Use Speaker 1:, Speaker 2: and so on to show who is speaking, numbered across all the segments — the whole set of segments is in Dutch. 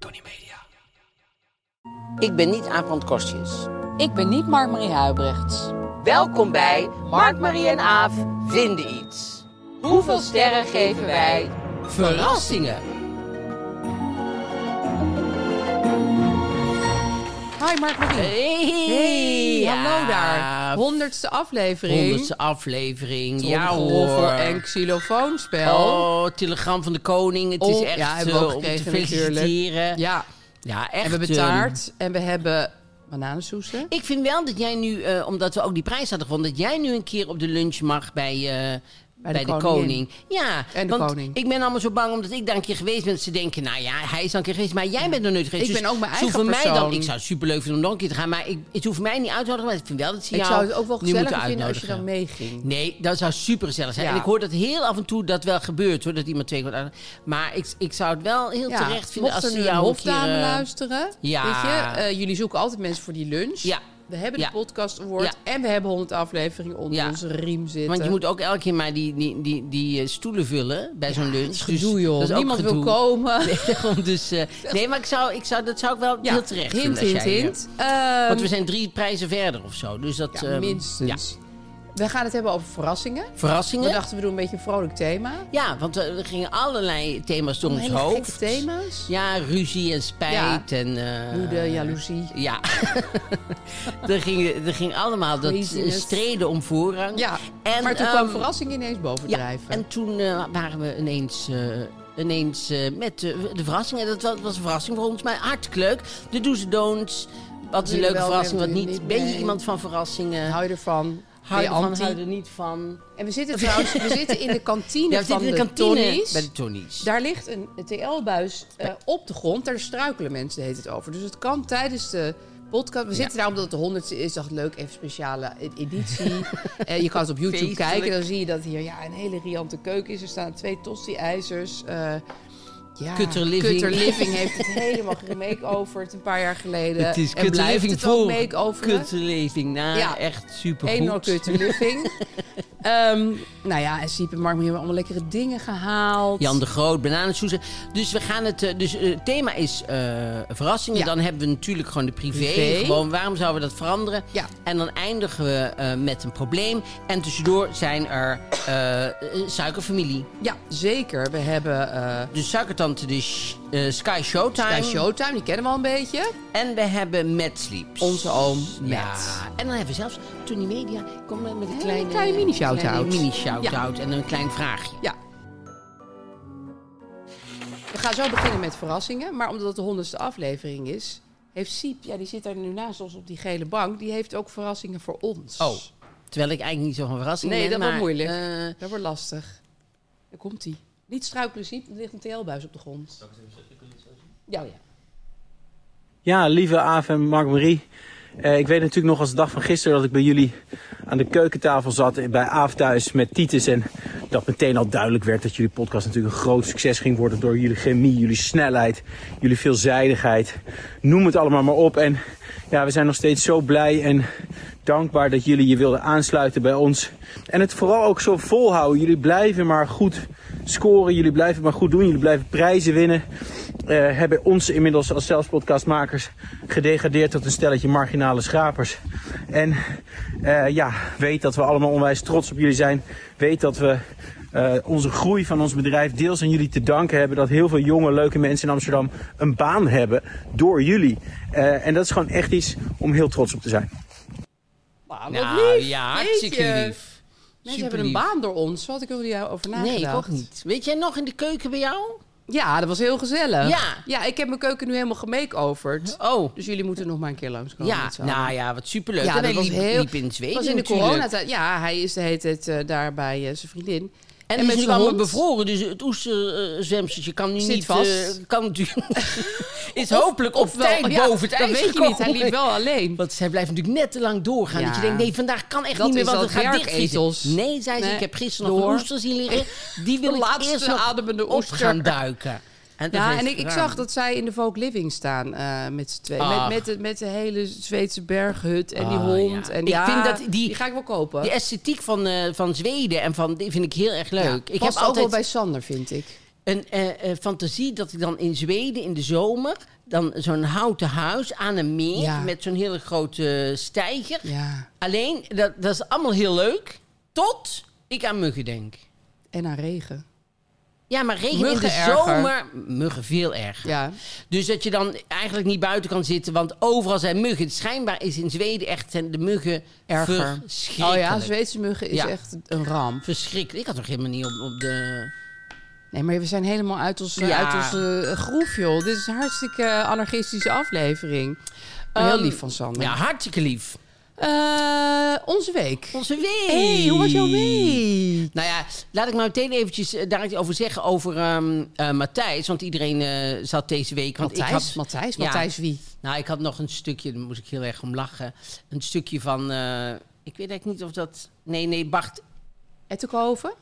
Speaker 1: Tony Media.
Speaker 2: Ik ben niet Aap van Kostjes.
Speaker 3: Ik ben niet Mark-Marie Huibrechts.
Speaker 2: Welkom bij Mark, Marie en Aaf vinden iets. Hoeveel sterren geven wij? Verrassingen.
Speaker 4: Hi Mark-Marie. Hey, hallo daar. Honderdste aflevering.
Speaker 2: Honderdste aflevering. Ja
Speaker 4: Tromgeroffel
Speaker 2: hoor.
Speaker 4: en xylofoonspel.
Speaker 2: Oh, telegram van de koning. Het is
Speaker 4: Oh,
Speaker 2: echt
Speaker 4: ja, hebben we
Speaker 2: eh,
Speaker 4: ook
Speaker 2: om te
Speaker 4: gekregen
Speaker 2: feliciteren.
Speaker 4: natuurlijk. Ja.
Speaker 2: ja, echt.
Speaker 4: en we hebben
Speaker 2: eh,
Speaker 4: taart en we hebben bananensoesen.
Speaker 2: Ik vind wel dat jij nu, eh, omdat we ook die prijs hadden gewonnen, dat jij nu een keer op de lunch mag bij, eh, bij, de,
Speaker 4: koningin.
Speaker 2: koning. Ja,
Speaker 4: En de
Speaker 2: want
Speaker 4: koning.
Speaker 2: ik ben allemaal zo bang omdat ik daar een keer geweest ben. Dat ze denken, nou ja, hij is al een keer geweest, maar jij bent nog nooit geweest.
Speaker 4: Ik
Speaker 2: Dus
Speaker 4: ben ook mijn
Speaker 2: ze
Speaker 4: eigen
Speaker 2: hoeven Mij dan,
Speaker 4: persoon.
Speaker 2: ik zou het superleuk vinden om nog een keer te gaan, maar ik, het hoeft mij niet uit te nodigen. Maar ik vind wel dat ze
Speaker 4: Ik
Speaker 2: jou
Speaker 4: zou het ook wel
Speaker 2: nu
Speaker 4: gezellig
Speaker 2: moeten
Speaker 4: vinden als je
Speaker 2: uitnodigen.
Speaker 4: dan meeging.
Speaker 2: Nee, dat zou super gezellig zijn.
Speaker 4: Ja.
Speaker 2: En ik hoor dat heel af en toe dat wel gebeurt hoor, dat iemand twee keer wordt uitgenodigd. Maar ik, ik zou het wel heel terecht vinden
Speaker 4: mocht
Speaker 2: als
Speaker 4: er
Speaker 2: ze
Speaker 4: nu
Speaker 2: jou
Speaker 4: een
Speaker 2: een keer,
Speaker 4: hofdame
Speaker 2: eh,
Speaker 4: luisteren.
Speaker 2: Ja.
Speaker 4: Weet je, eh, jullie zoeken altijd mensen voor die lunch.
Speaker 2: Ja.
Speaker 4: We hebben
Speaker 2: Ja.
Speaker 4: de podcast award
Speaker 2: Ja.
Speaker 4: en we hebben 100 afleveringen onder
Speaker 2: Ja.
Speaker 4: onze riem zitten.
Speaker 2: Want je moet ook elke keer maar die, die, die, die eh, stoelen vullen bij zo'n lunch. Dus
Speaker 4: gedoe, joh.
Speaker 2: dat is ook
Speaker 4: Niemand wil
Speaker 2: gedoe.
Speaker 4: komen.
Speaker 2: Nee, daarom dus, eh, nee, maar ik zou, ik zou, dat zou ik wel
Speaker 4: Ja,
Speaker 2: heel terecht
Speaker 4: hint,
Speaker 2: vinden.
Speaker 4: hint,
Speaker 2: als jij, eh,
Speaker 4: hint.
Speaker 2: Want
Speaker 4: Ehm,
Speaker 2: we zijn drie prijzen verder of zo. Dus dat,
Speaker 4: ja,
Speaker 2: ehm,
Speaker 4: minstens. We gaan het hebben over verrassingen.
Speaker 2: ja.
Speaker 4: We
Speaker 2: Verrassingen.
Speaker 4: dachten, we doen een beetje een vrolijk thema.
Speaker 2: Ja, want we, we gingen allerlei thema's door ons
Speaker 4: Hele gekke
Speaker 2: hoofd.
Speaker 4: thema's.
Speaker 2: Ja, ruzie en spijt en... eh,
Speaker 4: Woede, jaloezie.
Speaker 2: Ja, er ging, er ging allemaal dat eh,
Speaker 4: Craziness.
Speaker 2: streden om voorrang.
Speaker 4: Ja,
Speaker 2: en,
Speaker 4: maar toen
Speaker 2: ehm,
Speaker 4: kwam verrassing ineens bovendrijven.
Speaker 2: en toen eh, waren we ineens, eh, ineens eh, met eh, de verrassing. En dat wa- was een verrassing voor ons, maar hartstikke leuk. De do's en don'ts. Wat is een
Speaker 4: Doe je
Speaker 2: leuke
Speaker 4: wel
Speaker 2: verrassing,
Speaker 4: mee,
Speaker 2: wat
Speaker 4: doe je
Speaker 2: niet.
Speaker 4: niet
Speaker 2: Ben je
Speaker 4: mee?
Speaker 2: iemand van verrassingen?
Speaker 4: Hou je ervan?
Speaker 2: Hou je
Speaker 4: Ben
Speaker 2: ervan,
Speaker 4: anti?
Speaker 2: hou je er niet van?
Speaker 4: En we zitten trouwens we zitten in de kantine
Speaker 2: Ja, we
Speaker 4: van
Speaker 2: zitten in de
Speaker 4: de,
Speaker 2: kantine
Speaker 4: Tonys.
Speaker 2: bij de Tonys.
Speaker 4: Daar ligt een TL-buis eh, op de grond. Daar struikelen mensen heet het over. Dus het kan tijdens de podcast... We zitten daar omdat het de honderdste is. dacht leuk, even speciale e- editie. Eh, je kan het op YouTube
Speaker 2: Feestelijk.
Speaker 4: kijken. Dan zie je dat hier ja, een hele riante keuken is. Er staan twee tosti-ijzers. eh, ja,
Speaker 2: Cutter Living.
Speaker 4: Cutter Living heeft het helemaal geremake-overd een paar jaar geleden.
Speaker 2: Het is
Speaker 4: eh, en blijft
Speaker 2: kutleving
Speaker 4: het ook
Speaker 2: voor.
Speaker 4: make-overen.
Speaker 2: Kutleving, nou,
Speaker 4: Ja.
Speaker 2: echt supergoed.
Speaker 4: Eén al kutte living. Ehm, nou ja, en Siep en Mark hebben allemaal lekkere dingen gehaald.
Speaker 2: Jan de Groot, bananensoezen. Dus we gaan het. eh, Dus eh, het thema is eh, verrassingen.
Speaker 4: Ja.
Speaker 2: Dan hebben we natuurlijk gewoon de privé.
Speaker 4: Privé.
Speaker 2: Gewoon, waarom zouden we dat veranderen?
Speaker 4: Ja.
Speaker 2: En dan eindigen we eh, met een probleem. En tussendoor zijn er eh, eh, suikerfamilie.
Speaker 4: Ja, zeker. We hebben eh
Speaker 2: Dus suikertante, de sh- eh, Sky Showtime.
Speaker 4: Sky Showtime, die kennen we al een beetje.
Speaker 2: En we hebben Matt Sleeps.
Speaker 4: Onze oom
Speaker 2: Ja.
Speaker 4: Matt.
Speaker 2: En dan hebben we zelfs Tony Media. Kom met een kleine,
Speaker 4: kleine mini-shout-out.
Speaker 2: kleine mini-shout-out en een klein vraagje.
Speaker 4: Ja. We gaan zo beginnen met verrassingen. Maar omdat het de honderdste aflevering is, heeft Siep, ja, die zit daar nu naast ons op die gele bank, die heeft ook verrassingen voor ons.
Speaker 2: Oh. Terwijl ik eigenlijk niet zo van verrassing
Speaker 4: Nee,
Speaker 2: ben.
Speaker 4: dat wordt
Speaker 2: maar,
Speaker 4: moeilijk.
Speaker 2: eh,
Speaker 4: Dat wordt lastig. Daar komt hij. Niet struikelen, Siep. Er ligt een TL-buis op de grond. Ja, ja.
Speaker 5: Ja, lieve Aaf en Mark-Marie. Eh, ik weet natuurlijk nog als de dag van gisteren dat ik bij jullie aan de keukentafel zat bij Aaf thuis met Titus. En dat meteen al duidelijk werd dat jullie podcast natuurlijk een groot succes ging worden door jullie chemie, jullie snelheid, jullie veelzijdigheid. Noem het allemaal maar op. En ja, we zijn nog steeds zo blij en dankbaar dat jullie je wilden aansluiten bij ons. En het vooral ook zo volhouden. Jullie blijven maar goed scoren, jullie blijven maar goed doen, jullie blijven prijzen winnen eh, hebben ons inmiddels als zelfspodcastmakers gedegradeerd tot een stelletje marginale schrapers. En eh, ja, weet dat we allemaal onwijs trots op jullie zijn. Weet dat we
Speaker 6: eh, onze groei van ons bedrijf deels aan jullie te danken hebben. Dat heel veel jonge, leuke mensen in Amsterdam een baan hebben door jullie. Eh, en dat is gewoon echt iets om heel trots op te zijn.
Speaker 4: Nou, wat
Speaker 2: Nou
Speaker 4: lief.
Speaker 2: ja,
Speaker 4: Jeetje.
Speaker 2: hartstikke lief. Super
Speaker 4: Mensen hebben een
Speaker 2: lief.
Speaker 4: baan door ons. Zo had ik er niet over nagedacht.
Speaker 2: Nee, ik ook niet. Weet jij nog in de keuken bij jou?
Speaker 4: Ja, dat was heel gezellig.
Speaker 2: Ja.
Speaker 4: Ja, ik heb mijn keuken nu helemaal gemakeoverd.
Speaker 2: Oh,
Speaker 4: Dus jullie moeten nog maar een keer langskomen.
Speaker 2: ja.
Speaker 4: met z'n allen.
Speaker 2: Nou ja, wat superleuk.
Speaker 4: Ja,
Speaker 2: en
Speaker 4: dat
Speaker 2: hij
Speaker 4: was
Speaker 2: liep,
Speaker 4: heel-
Speaker 2: liep in Zweden
Speaker 4: was in de
Speaker 2: natuurlijk.
Speaker 4: coronatijd. Ja, hij is de hele tijd eh, daar bij eh, zijn vriendin.
Speaker 2: En,
Speaker 4: met
Speaker 2: met
Speaker 4: zijn
Speaker 2: is allemaal
Speaker 4: hond.
Speaker 2: bevroren, dus het oesterzwemstertje kan nu
Speaker 4: Zit
Speaker 2: niet...
Speaker 4: vast.
Speaker 2: eh, kan natuurlijk, is
Speaker 4: Of-
Speaker 2: hopelijk op
Speaker 4: of wel-
Speaker 2: tijd
Speaker 4: ja,
Speaker 2: boven het
Speaker 4: Dat
Speaker 2: ijs
Speaker 4: weet je niet, hij
Speaker 2: gekomen.
Speaker 4: liep wel alleen.
Speaker 2: Want zij blijft natuurlijk net te lang doorgaan.
Speaker 4: Ja.
Speaker 2: Dat je denkt, nee, vandaag kan echt
Speaker 4: Dat
Speaker 2: niet meer,
Speaker 4: is
Speaker 2: want het
Speaker 4: dat
Speaker 2: gaat dichtgieten.
Speaker 4: werkethos.
Speaker 2: Nee, zei ze,
Speaker 4: Nee.
Speaker 2: ik heb gisteren nog een
Speaker 4: Door.
Speaker 2: oester zien liggen. Die wil
Speaker 4: De
Speaker 2: ik
Speaker 4: laatste
Speaker 2: eerst nog
Speaker 4: ademende
Speaker 2: op
Speaker 4: oester.
Speaker 2: gaan duiken. En dat
Speaker 4: Ja,
Speaker 2: heeft
Speaker 4: en
Speaker 2: ze
Speaker 4: ik, ik
Speaker 2: gedaan.
Speaker 4: zag dat zij in de Vogue Living staan eh, met z'n tweeën.
Speaker 2: Ach.
Speaker 4: Met, met, de, met de hele Zweedse berghut en die
Speaker 2: Ah,
Speaker 4: hond.
Speaker 2: ja.
Speaker 4: En
Speaker 2: Ik
Speaker 4: ja,
Speaker 2: vind dat die-
Speaker 4: ga ik wel kopen.
Speaker 2: De esthetiek van, eh, van Zweden en van, die vind ik heel erg leuk. ik heb
Speaker 4: Past ook
Speaker 2: altijd
Speaker 4: wel bij Sander, vind ik.
Speaker 2: een eh, eh, fantasie dat ik dan in Zweden in de zomer... dan zo'n houten huis aan een meer
Speaker 4: Ja.
Speaker 2: met zo'n hele grote steiger.
Speaker 4: Ja,
Speaker 2: Alleen, dat, dat is allemaal heel leuk, tot ik aan muggen denk.
Speaker 4: en aan regen.
Speaker 2: Ja, maar regen in
Speaker 4: Muggen
Speaker 2: de
Speaker 4: erger.
Speaker 2: zomer... Muggen veel erger.
Speaker 4: Ja,
Speaker 2: Dus dat je dan eigenlijk niet buiten kan zitten, want overal zijn muggen. Schijnbaar is in Zweden echt zijn de muggen
Speaker 4: erger. Oh
Speaker 2: verschrikkelijk.
Speaker 4: ja, Zweedse muggen is
Speaker 2: Ja.
Speaker 4: echt een ramp.
Speaker 2: Verschrikkelijk. Ik had nog helemaal niet op, op de...
Speaker 4: Nee, maar we zijn helemaal uit onze,
Speaker 2: Ja.
Speaker 4: uit onze eh, groef, joh. Dit is een hartstikke anarchistische aflevering. Maar heel
Speaker 2: Ehm,
Speaker 4: lief van Sander.
Speaker 2: Ja, hartstikke lief.
Speaker 4: Eh, onze week.
Speaker 2: Onze week.
Speaker 4: hey, hoe was jouw week?
Speaker 2: Nou ja, laat ik maar meteen eventjes eh, daar iets over zeggen over ehm, eh, Matthijs. Want iedereen eh, zat deze week... Want ik
Speaker 4: Matthijs,
Speaker 2: had,
Speaker 4: Matthijs,
Speaker 2: Ja.
Speaker 4: Matthijs wie?
Speaker 2: Nou, ik had nog een stukje, daar moest ik heel erg om lachen. Een stukje van... eh, ik weet eigenlijk niet of dat... Nee, nee, Bart...
Speaker 4: Ettenkoven?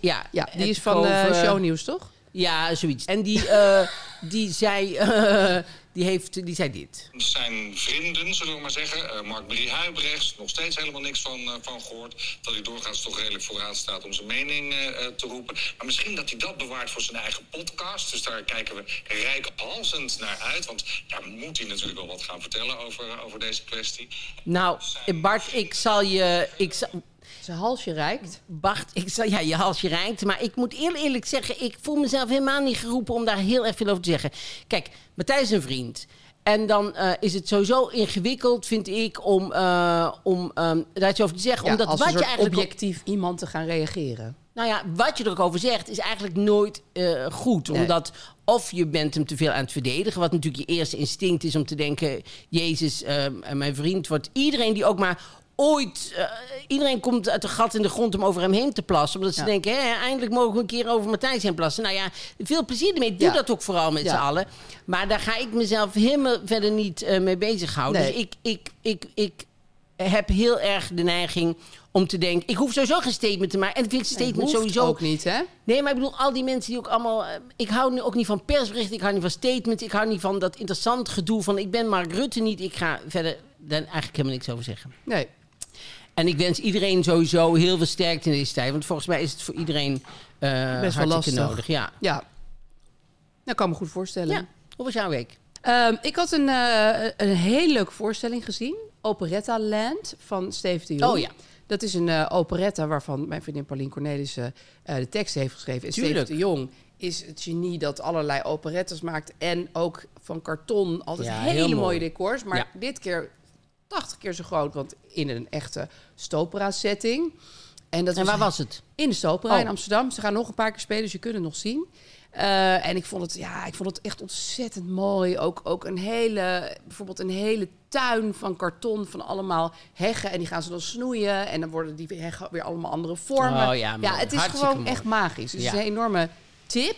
Speaker 2: Ja,
Speaker 4: Ja, die is
Speaker 2: Edtikoven.
Speaker 4: van eh Shownieuws, toch?
Speaker 2: Ja, zoiets. En die, eh, die, zei, eh, die, heeft, die zei dit.
Speaker 7: zijn vrienden, zullen we maar zeggen. Eh, Mark Marie Huibrechts, nog steeds helemaal niks van, eh, van gehoord. Dat hij doorgaans toch redelijk vooraan staat om zijn mening eh, eh, te roepen. Maar misschien dat hij dat bewaart voor zijn eigen podcast. Dus daar kijken we rijkhalzend naar uit. Want daar moet hij natuurlijk wel wat gaan vertellen over, eh, over deze kwestie.
Speaker 2: Nou, eh, Bart, ik zal je... Ik zal,
Speaker 4: Zijn halsje reikt.
Speaker 2: Bart, ik zal ja, je halsje rijkt. Maar ik moet heel eerlijk zeggen, ik voel mezelf helemaal niet geroepen om daar heel erg veel over te zeggen. Kijk, Matthijs is een vriend. En dan eh, is het sowieso ingewikkeld, vind ik, om, eh, om ehm, daar iets over te zeggen.
Speaker 4: Ja,
Speaker 2: Omdat
Speaker 4: als
Speaker 2: wat
Speaker 4: een soort
Speaker 2: je eigenlijk op-
Speaker 4: objectief iemand te gaan reageren.
Speaker 2: Nou ja, wat je er ook over zegt is eigenlijk nooit eh, goed.
Speaker 4: Nee.
Speaker 2: Omdat of je bent hem te veel aan het verdedigen. Wat natuurlijk je eerste instinct is om te denken... Jezus, eh, mijn vriend wordt iedereen die ook maar ooit... eh, iedereen komt uit een gat in de grond om over hem heen te plassen. Omdat ze
Speaker 4: Ja.
Speaker 2: denken, hè, eindelijk mogen we een keer over Matthijs heen plassen. Nou ja, veel plezier ermee. Doe
Speaker 4: Ja.
Speaker 2: dat ook vooral met
Speaker 4: Ja.
Speaker 2: z'n allen. Maar daar ga ik mezelf helemaal verder niet eh, mee bezighouden.
Speaker 4: Nee.
Speaker 2: Dus ik, ik, ik, ik heb heel erg de neiging om te denken... Ik hoef sowieso geen statement te maken. En ik vind statement
Speaker 4: Hoeft
Speaker 2: sowieso...
Speaker 4: ook niet, hè?
Speaker 2: Nee, maar ik bedoel, al die mensen die ook allemaal... eh, Ik hou nu ook niet van persberichten, ik hou niet van statements... ik hou niet van dat interessant gedoe van... ik ben Mark Rutte niet, ik ga verder dan eigenlijk helemaal niks over zeggen.
Speaker 4: Nee.
Speaker 2: En ik wens iedereen sowieso heel veel sterkte in deze tijd... want volgens mij is het voor iedereen eh
Speaker 4: Best
Speaker 2: hartstikke
Speaker 4: wel lastig.
Speaker 2: nodig. Ja.
Speaker 4: Ja. Dat kan me goed voorstellen.
Speaker 2: ja, hoe was jouw week?
Speaker 4: Ehm, ik had een, eh een hele leuke voorstelling gezien. Operetta Land van Steven de Jong.
Speaker 2: Oh ja.
Speaker 4: Dat is een eh, operetta waarvan mijn vriendin Pauline Cornelissen eh, de tekst heeft geschreven. En Steven
Speaker 2: Tuurlijk.
Speaker 4: de Jong is het genie dat allerlei operettas maakt. En ook van karton. Altijd
Speaker 2: Ja,
Speaker 4: hele
Speaker 2: heel
Speaker 4: mooie
Speaker 2: mooi.
Speaker 4: decors. Maar
Speaker 2: Ja.
Speaker 4: dit keer 80 keer zo groot. Want in een echte stopera setting. En, dat
Speaker 2: En waar was het?
Speaker 4: in de Sopera
Speaker 2: Oh.
Speaker 4: in Amsterdam. Ze gaan nog een paar keer spelen, dus je kunt het nog zien. Eh, en ik vond, het, ja, ik vond het echt ontzettend mooi. Ook, ook een hele, bijvoorbeeld een hele tuin van karton van allemaal heggen. En die gaan ze dan snoeien. En dan worden die heggen weer allemaal andere vormen.
Speaker 2: Oh ja, mooi.
Speaker 4: het is
Speaker 2: Hartstikke
Speaker 4: gewoon
Speaker 2: mooi.
Speaker 4: echt magisch. Dus
Speaker 2: Ja.
Speaker 4: het is een enorme tip.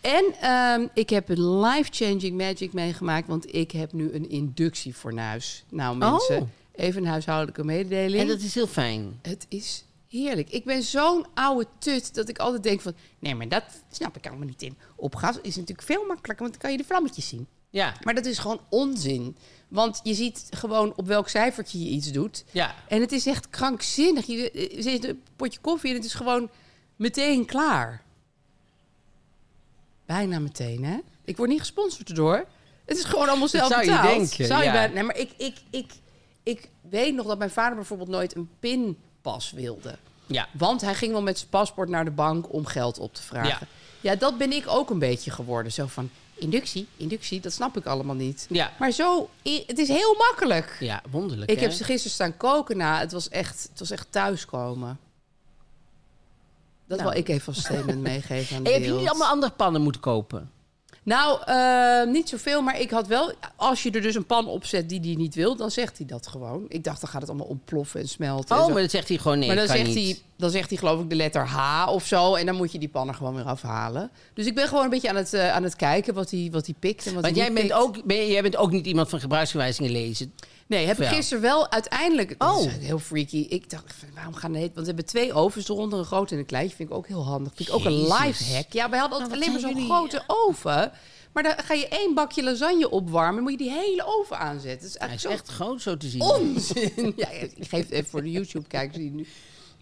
Speaker 4: En ehm, ik heb een life-changing magic meegemaakt, want ik heb nu een inductiefornuis. Nou mensen,
Speaker 2: Oh.
Speaker 4: even een huishoudelijke mededeling.
Speaker 2: En dat is heel fijn.
Speaker 4: Het is heerlijk. Ik ben zo'n oude tut dat ik altijd denk van... Nee, maar dat snap ik allemaal niet in. Op gas is natuurlijk veel makkelijker, want dan kan je de vlammetjes zien.
Speaker 2: Ja.
Speaker 4: Maar dat is gewoon onzin. Want je ziet gewoon op welk cijfertje je iets doet.
Speaker 2: Ja.
Speaker 4: En het is echt krankzinnig. Je eh, zet een potje koffie en het is gewoon meteen klaar. Bijna meteen, hè? Ik word niet gesponsord erdoor. Het is gewoon allemaal zelf
Speaker 2: zou je
Speaker 4: betaald.
Speaker 2: denken,
Speaker 4: Zou je
Speaker 2: ja.
Speaker 4: bijna- Nee, maar ik, ik, ik, ik weet nog dat mijn vader bijvoorbeeld nooit een pinpas wilde.
Speaker 2: Ja.
Speaker 4: Want hij ging wel met zijn paspoort naar de bank om geld op te vragen. Ja, dat ben ik ook een beetje geworden. Zo van inductie, inductie, dat snap ik allemaal niet.
Speaker 2: Ja.
Speaker 4: Maar zo, i- het is heel makkelijk.
Speaker 2: Ja, wonderlijk.
Speaker 4: Ik
Speaker 2: hè?
Speaker 4: heb ze gisteren staan koken na. Het was echt, het was echt thuiskomen. Dat wil ik even als statement meegeven aan
Speaker 2: Nou.
Speaker 4: de
Speaker 2: Hey, heb je
Speaker 4: wereld.
Speaker 2: niet allemaal andere pannen moeten kopen?
Speaker 4: Nou, eh, niet zoveel, maar ik had wel... Als je er dus een pan opzet die die niet wil, dan zegt hij dat gewoon. Ik dacht, dan gaat het allemaal ontploffen en smelten. en
Speaker 2: Oh,
Speaker 4: zo.
Speaker 2: maar dat zegt hij gewoon nee.
Speaker 4: maar dan
Speaker 2: kan
Speaker 4: zegt,
Speaker 2: niet.
Speaker 4: hij, dan zegt hij geloof ik de letter H of zo. En dan moet je die pan er gewoon weer afhalen. Dus ik ben gewoon een beetje aan het, eh, aan het kijken wat hij, wat hij pikt en wat
Speaker 2: Want
Speaker 4: hij
Speaker 2: jij
Speaker 4: niet
Speaker 2: bent,
Speaker 4: pikt.
Speaker 2: ook, ben, jij bent ook niet iemand van gebruiksaanwijzingen lezen.
Speaker 4: Nee, heb ik
Speaker 2: Ja.
Speaker 4: gisteren wel uiteindelijk...
Speaker 2: Oh.
Speaker 4: Oh. heel freaky. Ik dacht, van, waarom gaan we... Want we hebben twee ovens eronder, een grote en een kleintje. Vind ik ook heel handig. Vind ik ook een
Speaker 2: Jezus.
Speaker 4: life hack. Ja, wij hadden altijd
Speaker 2: Nou, wat
Speaker 4: alleen maar
Speaker 2: zijn
Speaker 4: zo'n
Speaker 2: jullie-
Speaker 4: grote oven. Maar dan ga je één bakje lasagne opwarmen... en moet je die hele oven aanzetten. Dat is
Speaker 2: Hij is
Speaker 4: eigenlijk
Speaker 2: echt groot zo te zien.
Speaker 4: zo onzin. ja, ik geef het even voor de YouTube-kijkers die nu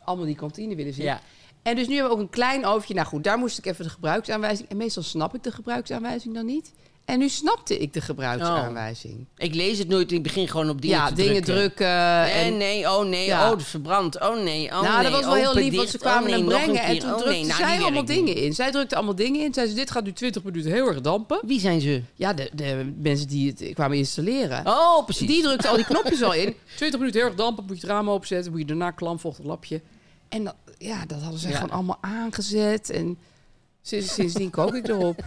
Speaker 4: allemaal die kantine willen zien.
Speaker 2: Ja.
Speaker 4: En dus nu hebben we ook een klein oventje. Nou goed, daar moest ik even de gebruiksaanwijzing... En meestal snap ik de gebruiksaanwijzing dan niet. En nu snapte ik de gebruiksaanwijzing.
Speaker 2: Ik lees het nooit. Ik begin gewoon op dingen
Speaker 4: Ja,
Speaker 2: Oh, te
Speaker 4: dingen
Speaker 2: drukken.
Speaker 4: drukken.
Speaker 2: Nee,
Speaker 4: en,
Speaker 2: nee, oh nee,
Speaker 4: Ja.
Speaker 2: oh, het is verbrand. Oh nee, oh nee.
Speaker 4: nou, dat was wel
Speaker 2: oh,
Speaker 4: heel lief, want
Speaker 2: dicht.
Speaker 4: ze kwamen
Speaker 2: oh, nee,
Speaker 4: hem
Speaker 2: nog een
Speaker 4: brengen en
Speaker 2: keer.
Speaker 4: toen
Speaker 2: oh,
Speaker 4: drukte
Speaker 2: nee, nou, die
Speaker 4: zij
Speaker 2: werkt
Speaker 4: allemaal
Speaker 2: niet.
Speaker 4: dingen in. Zij drukte allemaal dingen in. Zei ze, dit gaat nu 20 minuten heel erg dampen.
Speaker 2: Wie zijn ze?
Speaker 4: Ja, de, de mensen die het kwamen installeren.
Speaker 2: Oh, precies.
Speaker 4: Die drukte al die knopjes al in. 20 minuten heel erg dampen, moet je het raam openzetten. Moet je daarna klamvochtig lapje. En dat, ja, dat hadden ze
Speaker 2: Ja.
Speaker 4: gewoon allemaal aangezet. En sinds, sindsdien kook ik erop.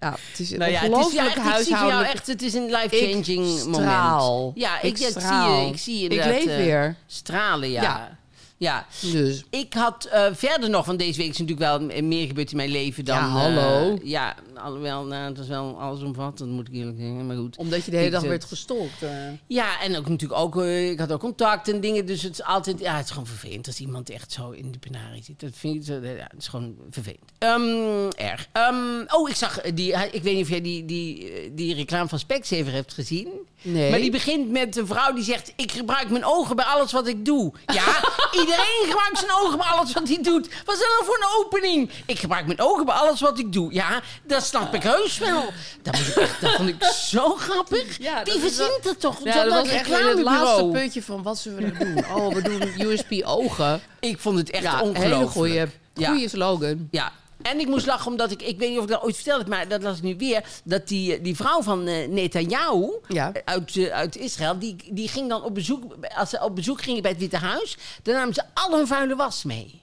Speaker 4: Ja, het is een
Speaker 2: nou ja, het is ja,
Speaker 4: ongelooflijk
Speaker 2: echt, ik zie voor jou
Speaker 4: huishoudelijk.
Speaker 2: echt, het is een
Speaker 4: Ik
Speaker 2: life-changing
Speaker 4: straal.
Speaker 2: moment. Ja, ik,
Speaker 4: Ik
Speaker 2: ja, ik zie
Speaker 4: straal.
Speaker 2: je, ik zie je
Speaker 4: Ik
Speaker 2: inderdaad,
Speaker 4: leef
Speaker 2: eh,
Speaker 4: weer.
Speaker 2: Stralen, ja. ja.
Speaker 4: Ja. Dus.
Speaker 2: Ik had eh, verder nog, want deze week is natuurlijk wel m- meer gebeurd in mijn leven dan...
Speaker 4: Ja,
Speaker 2: eh,
Speaker 4: hallo.
Speaker 2: ja, alhoewel, nou, het was wel allesomvattend, moet ik eerlijk zeggen, maar goed.
Speaker 4: Omdat je de hele
Speaker 2: Ik,
Speaker 4: dag
Speaker 2: eh,
Speaker 4: werd gestalkt. eh.
Speaker 2: Ja, en ook natuurlijk ook, eh, ik had ook contact en dingen. Dus het is altijd, ja, het is gewoon vervelend als iemand echt zo in de penarie zit. Dat vind ik, zo- eh, ja, het is gewoon vervelend. Ehm, erg. Ehm, oh, ik zag eh, die, ik weet niet of jij die, die, eh, die reclame van Specsavers hebt gezien.
Speaker 4: Nee.
Speaker 2: Maar die begint met een vrouw die zegt, ik gebruik mijn ogen bij alles wat ik doe. Ja, iedereen gebruikt zijn ogen bij alles wat hij doet. Wat is dat nou voor een opening? Ik gebruik mijn ogen bij alles wat ik doe. Ja, dat snap ik heus wel. Dat, moet ik echt- dat vond ik zo grappig.
Speaker 4: Ja,
Speaker 2: Wie
Speaker 4: dat is wel-
Speaker 2: verzint dat toch?
Speaker 4: Ja,
Speaker 2: Zo'n
Speaker 4: dat was echt weer het laatste
Speaker 2: reclamebureau.
Speaker 4: puntje van wat zullen we nou doen? Oh, we doen USP ogen.
Speaker 2: Ik vond het echt
Speaker 4: ja,
Speaker 2: ongelooflijk.
Speaker 4: hele goede
Speaker 2: Ja.
Speaker 4: goeie slogan.
Speaker 2: ja. En ik moest lachen omdat ik, ik weet niet of ik dat ooit verteld heb, maar dat las ik nu weer. Dat die, eh, die vrouw van eh Netanyahu
Speaker 4: Ja.
Speaker 2: eh, uit, eh, uit Israël, die, die ging dan op bezoek, als ze op bezoek gingen bij het Witte Huis, dan namen ze al hun vuile was mee.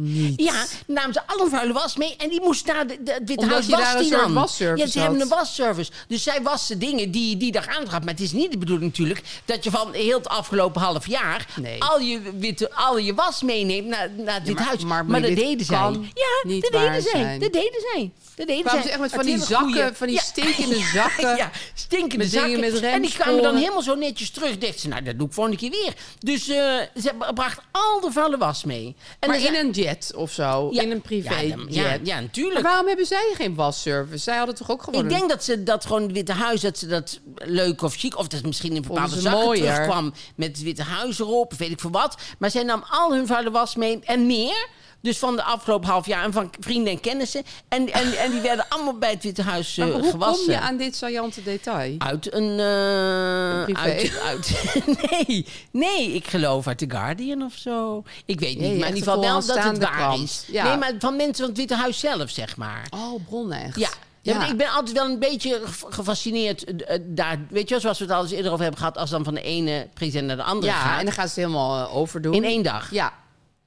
Speaker 4: Niet.
Speaker 2: Ja, dan namen ze al hun vuile was mee en die moest naar de, de, het Witte
Speaker 4: Omdat
Speaker 2: Huis
Speaker 4: je
Speaker 2: was
Speaker 4: daar een
Speaker 2: die
Speaker 4: soort
Speaker 2: dan.
Speaker 4: wasservice
Speaker 2: Ja, ze hebben een
Speaker 4: had.
Speaker 2: wasservice. Dus zij wassen dingen die je die dag aantrap. Maar het is niet de bedoeling natuurlijk dat je van heel het afgelopen half jaar...
Speaker 4: Nee.
Speaker 2: Al, je witte, al je was meeneemt naar, naar dit
Speaker 4: maar-
Speaker 2: huis.
Speaker 4: maar-
Speaker 2: Maar,
Speaker 4: maar
Speaker 2: dat
Speaker 4: dit
Speaker 2: deden zij. Ja,
Speaker 4: kan niet
Speaker 2: dat
Speaker 4: waar
Speaker 2: deden zij.
Speaker 4: zijn.
Speaker 2: Dat deden zij. Dat deden
Speaker 4: Kwamen
Speaker 2: zij.
Speaker 4: ze echt met van
Speaker 2: Het
Speaker 4: die
Speaker 2: hele
Speaker 4: zakken,
Speaker 2: goeie-
Speaker 4: van die stinkende
Speaker 2: ja,
Speaker 4: zakken.
Speaker 2: Ja, stinkende
Speaker 4: Met dingen
Speaker 2: zakken.
Speaker 4: met
Speaker 2: en die kwamen dan
Speaker 4: remsporen.
Speaker 2: helemaal zo netjes terug. Dacht ze, nou, dat doe ik volgende keer weer. Dus eh, ze bracht al de vuile was mee. En
Speaker 4: maar
Speaker 2: dan
Speaker 4: in
Speaker 2: zei-
Speaker 4: een jet of zo.
Speaker 2: Ja,
Speaker 4: in een privé
Speaker 2: ja, dan-
Speaker 4: jet.
Speaker 2: ja, ja, natuurlijk.
Speaker 4: Maar waarom hebben zij geen wasservice? Zij hadden toch ook gewoon
Speaker 2: Ik
Speaker 4: een-
Speaker 2: denk dat ze dat gewoon het Witte Huis, dat ze dat leuk of chic, of dat misschien in bepaalde
Speaker 4: Vonden ze
Speaker 2: zakken
Speaker 4: mooier.
Speaker 2: terugkwam met het Witte Huis erop, weet ik veel wat. Maar zij nam al hun vuile was mee en meer. Dus van de afgelopen half jaar en van vrienden en kennissen. En, en, en die werden allemaal bij het Witte Huis eh,
Speaker 4: Maar hoe
Speaker 2: gewassen.
Speaker 4: kom je aan dit saillante detail?
Speaker 2: Uit een... eh,
Speaker 4: Een privé.
Speaker 2: Uit, uit, nee, nee, ik geloof uit The Guardian of zo. Ik weet niet,
Speaker 4: Nee,
Speaker 2: maar in
Speaker 4: echt
Speaker 2: ieder geval
Speaker 4: een
Speaker 2: wel dat het
Speaker 4: vooraanstaande
Speaker 2: waar
Speaker 4: krant.
Speaker 2: is.
Speaker 4: Ja.
Speaker 2: Nee, maar van mensen van het Witte Huis zelf, zeg maar.
Speaker 4: Oh, bronnen echt.
Speaker 2: Ja. Ja, want Ik ben altijd wel een beetje ge- gefascineerd eh, eh, daar. Weet je, wel, zoals we het al eens eerder over hebben gehad, als dan van de ene president naar de andere
Speaker 4: Ja,
Speaker 2: gaat.
Speaker 4: en dan gaan ze het helemaal eh, overdoen.
Speaker 2: in één dag.
Speaker 4: Ja.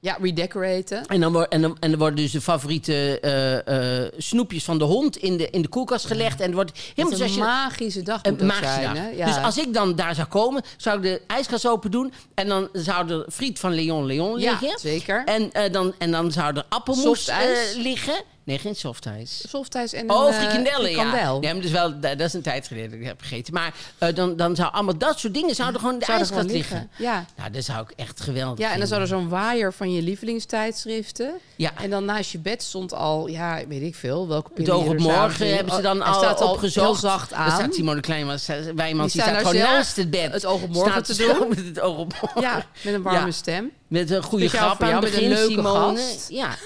Speaker 4: Ja, redecoraten.
Speaker 2: En, dan wor- en, dan, en dan worden dus de favoriete eh, eh, snoepjes van de hond in de, in de koelkast gelegd. En er wordt helemaal
Speaker 4: Wat een
Speaker 2: zoals je.
Speaker 4: magische dag moet
Speaker 2: Een
Speaker 4: dat
Speaker 2: magische
Speaker 4: zijn,
Speaker 2: dag.
Speaker 4: hè? Ja.
Speaker 2: Dus als ik dan daar zou komen, zou ik de ijskast open doen. En dan zou er friet van Leon Leon
Speaker 4: Ja,
Speaker 2: liggen.
Speaker 4: zeker.
Speaker 2: En, eh, dan, en dan zou er appelmoes eh,
Speaker 4: Softijs?
Speaker 2: liggen. Nee, geen softijs.
Speaker 4: Softijs en
Speaker 2: Oh,
Speaker 4: een, eh,
Speaker 2: frikandellen, ja.
Speaker 4: frikandel.
Speaker 2: Nee, maar dat is, wel, dat dat is een tijd geleden dat ik dat heb gegeten. Maar eh, dan, dan zou allemaal dat soort dingen zouden gewoon in de
Speaker 4: Zouden
Speaker 2: ijskast
Speaker 4: gewoon
Speaker 2: liggen.
Speaker 4: liggen, ja.
Speaker 2: Nou, dat zou ik echt geweldig
Speaker 4: Ja, en
Speaker 2: vinden.
Speaker 4: dan zou er zo'n waaier van je lievelingstijdschriften.
Speaker 2: Ja.
Speaker 4: En dan naast je bed stond al, ja, weet ik veel, welke
Speaker 2: Het
Speaker 4: pilier
Speaker 2: oog op
Speaker 4: er zaten
Speaker 2: morgen
Speaker 4: in.
Speaker 2: hebben ze
Speaker 4: Oh,
Speaker 2: dan
Speaker 4: hij
Speaker 2: al
Speaker 4: staat al
Speaker 2: opgezocht.
Speaker 4: heel zacht
Speaker 2: Daar
Speaker 4: aan.
Speaker 2: staat Simone Kleinmans, Wijmans, die,
Speaker 4: staan
Speaker 2: staat
Speaker 4: daar
Speaker 2: gewoon
Speaker 4: zelf
Speaker 2: naast het bed.
Speaker 4: het oog op morgen
Speaker 2: Staat
Speaker 4: te
Speaker 2: zo
Speaker 4: doen.
Speaker 2: Met het oog op morgen.
Speaker 4: Ja, met een warme
Speaker 2: Ja.
Speaker 4: stem.
Speaker 2: Met een goede
Speaker 4: Speciaal
Speaker 2: grap
Speaker 4: voor
Speaker 2: aan
Speaker 4: jou,
Speaker 2: het
Speaker 4: met een
Speaker 2: begin,
Speaker 4: leuke
Speaker 2: Simone.
Speaker 4: gast.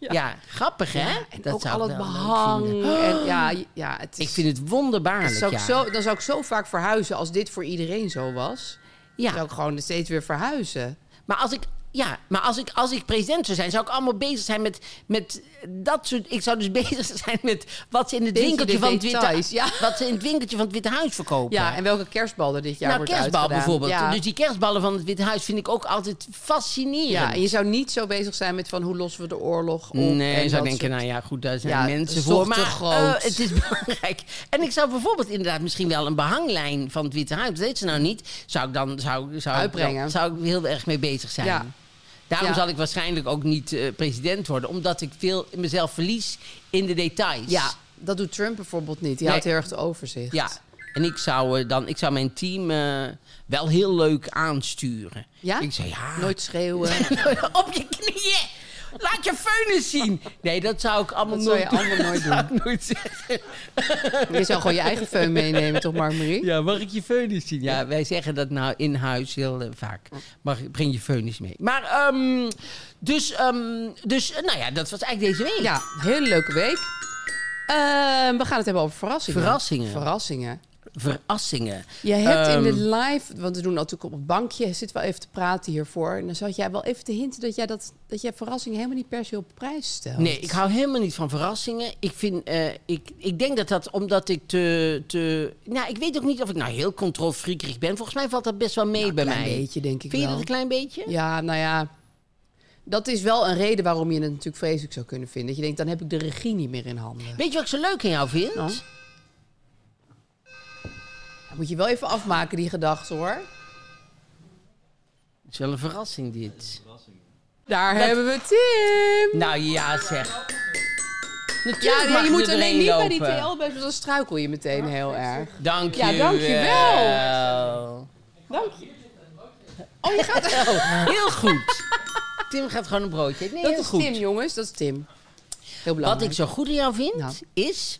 Speaker 2: Ja. Ja. grappig hè?
Speaker 4: En
Speaker 2: dat
Speaker 4: ook
Speaker 2: zou
Speaker 4: al
Speaker 2: ik
Speaker 4: het
Speaker 2: wel leuk
Speaker 4: behang.
Speaker 2: vinden.
Speaker 4: En ja, j- ja, het is,
Speaker 2: Ik vind het wonderbaarlijk,
Speaker 4: zou ik
Speaker 2: ja.
Speaker 4: zo, dan zou ik zo vaak verhuizen als dit voor iedereen zo was.
Speaker 2: Ja.
Speaker 4: Zou ik gewoon steeds weer verhuizen.
Speaker 2: Maar als ik. Ja, maar als ik, als ik president zou zijn, zou ik allemaal bezig zijn met, met dat soort. Ik zou dus bezig zijn met wat ze in het
Speaker 4: Beetje
Speaker 2: winkeltje
Speaker 4: de
Speaker 2: van het Witte
Speaker 4: details, ja.
Speaker 2: Wat ze in het winkeltje van het Witte Huis verkopen.
Speaker 4: Ja, en welke kerstbal er dit jaar
Speaker 2: nou,
Speaker 4: wordt
Speaker 2: kerstbal
Speaker 4: uitgedaan.
Speaker 2: bijvoorbeeld.
Speaker 4: Ja.
Speaker 2: Dus die kerstballen van het Witte Huis vind ik ook altijd fascinerend.
Speaker 4: ja, en je zou niet zo bezig zijn met van hoe lossen we de oorlog op.
Speaker 2: nee,
Speaker 4: en
Speaker 2: je zou
Speaker 4: dat
Speaker 2: denken,
Speaker 4: soort-
Speaker 2: nou ja, goed, daar zijn
Speaker 4: Ja,
Speaker 2: mensen
Speaker 4: dat is
Speaker 2: voor.
Speaker 4: toch
Speaker 2: Maar
Speaker 4: te groot.
Speaker 2: eh, het is belangrijk. En ik zou bijvoorbeeld inderdaad misschien wel een behanglijn van het Witte Huis, dat weet ze nou niet, zou ik dan zou, zou,
Speaker 4: Uitbrengen.
Speaker 2: zou ik heel erg mee bezig zijn.
Speaker 4: Ja.
Speaker 2: Daarom
Speaker 4: Ja.
Speaker 2: zal ik waarschijnlijk ook niet eh, president worden, omdat ik veel mezelf verlies in de details.
Speaker 4: Ja, dat doet Trump bijvoorbeeld niet. Die
Speaker 2: Nee.
Speaker 4: houdt heel erg het overzicht.
Speaker 2: ja. En ik zou eh, dan, ik zou mijn team eh, wel heel leuk aansturen.
Speaker 4: Ja?
Speaker 2: Ik zei ja.
Speaker 4: Nooit schreeuwen.
Speaker 2: op je knieën. Laat je veunis zien. Nee, dat zou ik allemaal
Speaker 4: Dat zou
Speaker 2: nooit
Speaker 4: je allemaal nooit
Speaker 2: Dat zou ik nooit zeggen.
Speaker 4: je zou gewoon je eigen föhn meenemen, toch, Mark Marie?
Speaker 2: Ja, mag ik je veunis zien? Ja, wij zeggen dat nou in huis heel eh, vaak. Mag, ik- breng je veunis mee. Maar, ehm, dus, ehm, dus, eh, nou ja, dat was eigenlijk deze week.
Speaker 4: Ja, hele leuke week. Ehm, we gaan het hebben over verrassingen.
Speaker 2: Verrassingen.
Speaker 4: Verrassingen.
Speaker 2: Verrassingen.
Speaker 4: Je hebt
Speaker 2: Ehm,
Speaker 4: in de live, want we doen natuurlijk op het bankje, je zit wel even te praten hiervoor. En dan zat jij wel even te hinten dat jij, dat, dat jij verrassingen helemaal niet per se op prijs stelt.
Speaker 2: Nee, ik hou helemaal niet van verrassingen. Ik, vind, eh, ik, ik denk dat dat omdat ik te, te... Nou, ik weet ook niet of ik nou heel controlfreakerig ben. Volgens mij valt dat best wel mee bij
Speaker 4: klein
Speaker 2: mij.
Speaker 4: beetje, denk ik
Speaker 2: Vind je
Speaker 4: wel.
Speaker 2: dat een klein beetje?
Speaker 4: Ja, nou ja. Dat is wel een reden waarom je het natuurlijk vreselijk zou kunnen vinden. Dat je denkt, dan heb ik de regie niet meer in handen.
Speaker 2: Weet je wat ik zo leuk aan jou vind?
Speaker 4: Nou? Dan moet je wel even afmaken, die gedachte hoor.
Speaker 2: Het is wel een verrassing dit.
Speaker 4: Daar hebben we Tim.
Speaker 2: Nou ja, zeg. Natuurlijk
Speaker 4: Ja, nee,
Speaker 2: mag
Speaker 4: je moet
Speaker 2: erheen
Speaker 4: alleen niet bij
Speaker 2: lopen.
Speaker 4: die TL blijven, dan struikel je meteen heel erg.
Speaker 2: Dank je
Speaker 4: Ja, dank je
Speaker 2: wel.
Speaker 4: Dank je. Oh, je gaat er.
Speaker 2: Heel goed. Tim gaat gewoon een broodje eten. Nee,
Speaker 4: Dat
Speaker 2: heel
Speaker 4: is
Speaker 2: goed.
Speaker 4: Tim, jongens. Dat is Tim. Heel
Speaker 2: Wat ik
Speaker 4: belangrijk.
Speaker 2: zo goed aan jou vind,
Speaker 4: Nou.
Speaker 2: is...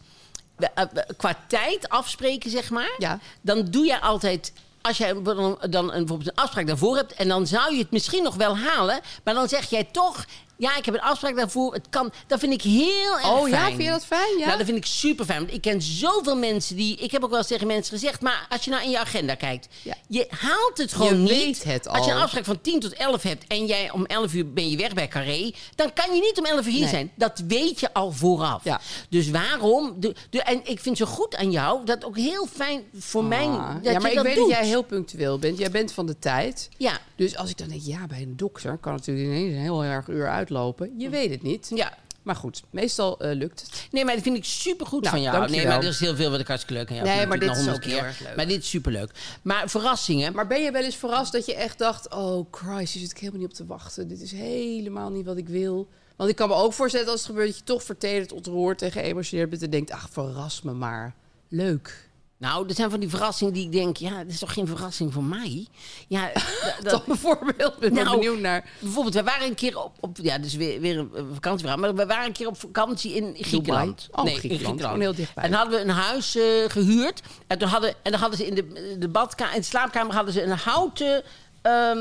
Speaker 2: we- eh, we- Qua tijd afspreken, zeg maar.
Speaker 4: Ja.
Speaker 2: Dan doe jij altijd... Als jij dan, dan een, bijvoorbeeld een afspraak daarvoor hebt... en dan zou je het misschien nog wel halen... maar dan zeg jij toch... ja, ik heb een afspraak daarvoor, het kan... dat vind ik heel erg
Speaker 4: Oh ja,
Speaker 2: fijn.
Speaker 4: vind je dat fijn? Ja.
Speaker 2: Nou, dat vind ik super fijn. Want ik ken zoveel mensen die. Ik heb ook wel eens tegen mensen gezegd. Maar als je nou in je agenda kijkt.
Speaker 4: Ja.
Speaker 2: Je haalt het gewoon
Speaker 4: Je
Speaker 2: niet.
Speaker 4: weet het
Speaker 2: Als je een
Speaker 4: al.
Speaker 2: afspraak van 10 tot 11 hebt. en jij om 11 uur ben je weg bij Carré. dan kan je niet om 11 uur hier
Speaker 4: Nee.
Speaker 2: zijn. Dat weet je al vooraf.
Speaker 4: Ja.
Speaker 2: Dus waarom. De, de, en ik vind zo goed aan jou. dat ook heel fijn voor mij.
Speaker 4: Ah,
Speaker 2: Dat
Speaker 4: ja, maar
Speaker 2: je
Speaker 4: ik
Speaker 2: dat
Speaker 4: weet
Speaker 2: doet.
Speaker 4: dat jij heel punctueel bent. Jij bent van de tijd.
Speaker 2: Ja.
Speaker 4: Dus als ik dan denk, ja, bij een dokter kan het natuurlijk ineens een heel erg uur uitlopen. Je weet het niet.
Speaker 2: Ja.
Speaker 4: Maar goed, meestal eh, lukt het.
Speaker 2: Nee, maar dat vind ik supergoed
Speaker 4: Nou,
Speaker 2: van jou.
Speaker 4: dankjewel.
Speaker 2: Nee, maar er is heel veel wat ik hartstikke leuk aan jou
Speaker 4: Nee,
Speaker 2: vind.
Speaker 4: maar dit is
Speaker 2: Natuurlijk nog
Speaker 4: ook heel
Speaker 2: honderd
Speaker 4: erg leuk.
Speaker 2: Maar dit is superleuk. Maar verrassingen.
Speaker 4: Maar ben je wel eens verrast dat je echt dacht, oh Christ, hier zit ik helemaal niet op te wachten. Dit is helemaal niet wat ik wil. Want ik kan me ook voorstellen als het gebeurt dat je toch vertederd, ontroerd en geëmotioneerd bent. En denkt, ach, verras me maar. Leuk.
Speaker 2: Nou, er zijn van die verrassingen die ik denk, ja, dat is toch geen verrassing voor mij? Ja, d-
Speaker 4: Dat, bijvoorbeeld, ben ik wel
Speaker 2: Nou,
Speaker 4: benieuwd naar.
Speaker 2: Bijvoorbeeld, we waren een keer op, op ja, dus weer, weer een eh, vakantieverhaal, maar we waren een keer op vakantie in Griekenland.
Speaker 4: Oh, Griekenland. Gewoon heel dichtbij.
Speaker 2: En hadden we een huis eh, gehuurd en toen hadden, en dan hadden ze in de, de badkamer, in de slaapkamer hadden ze een houten, ehm,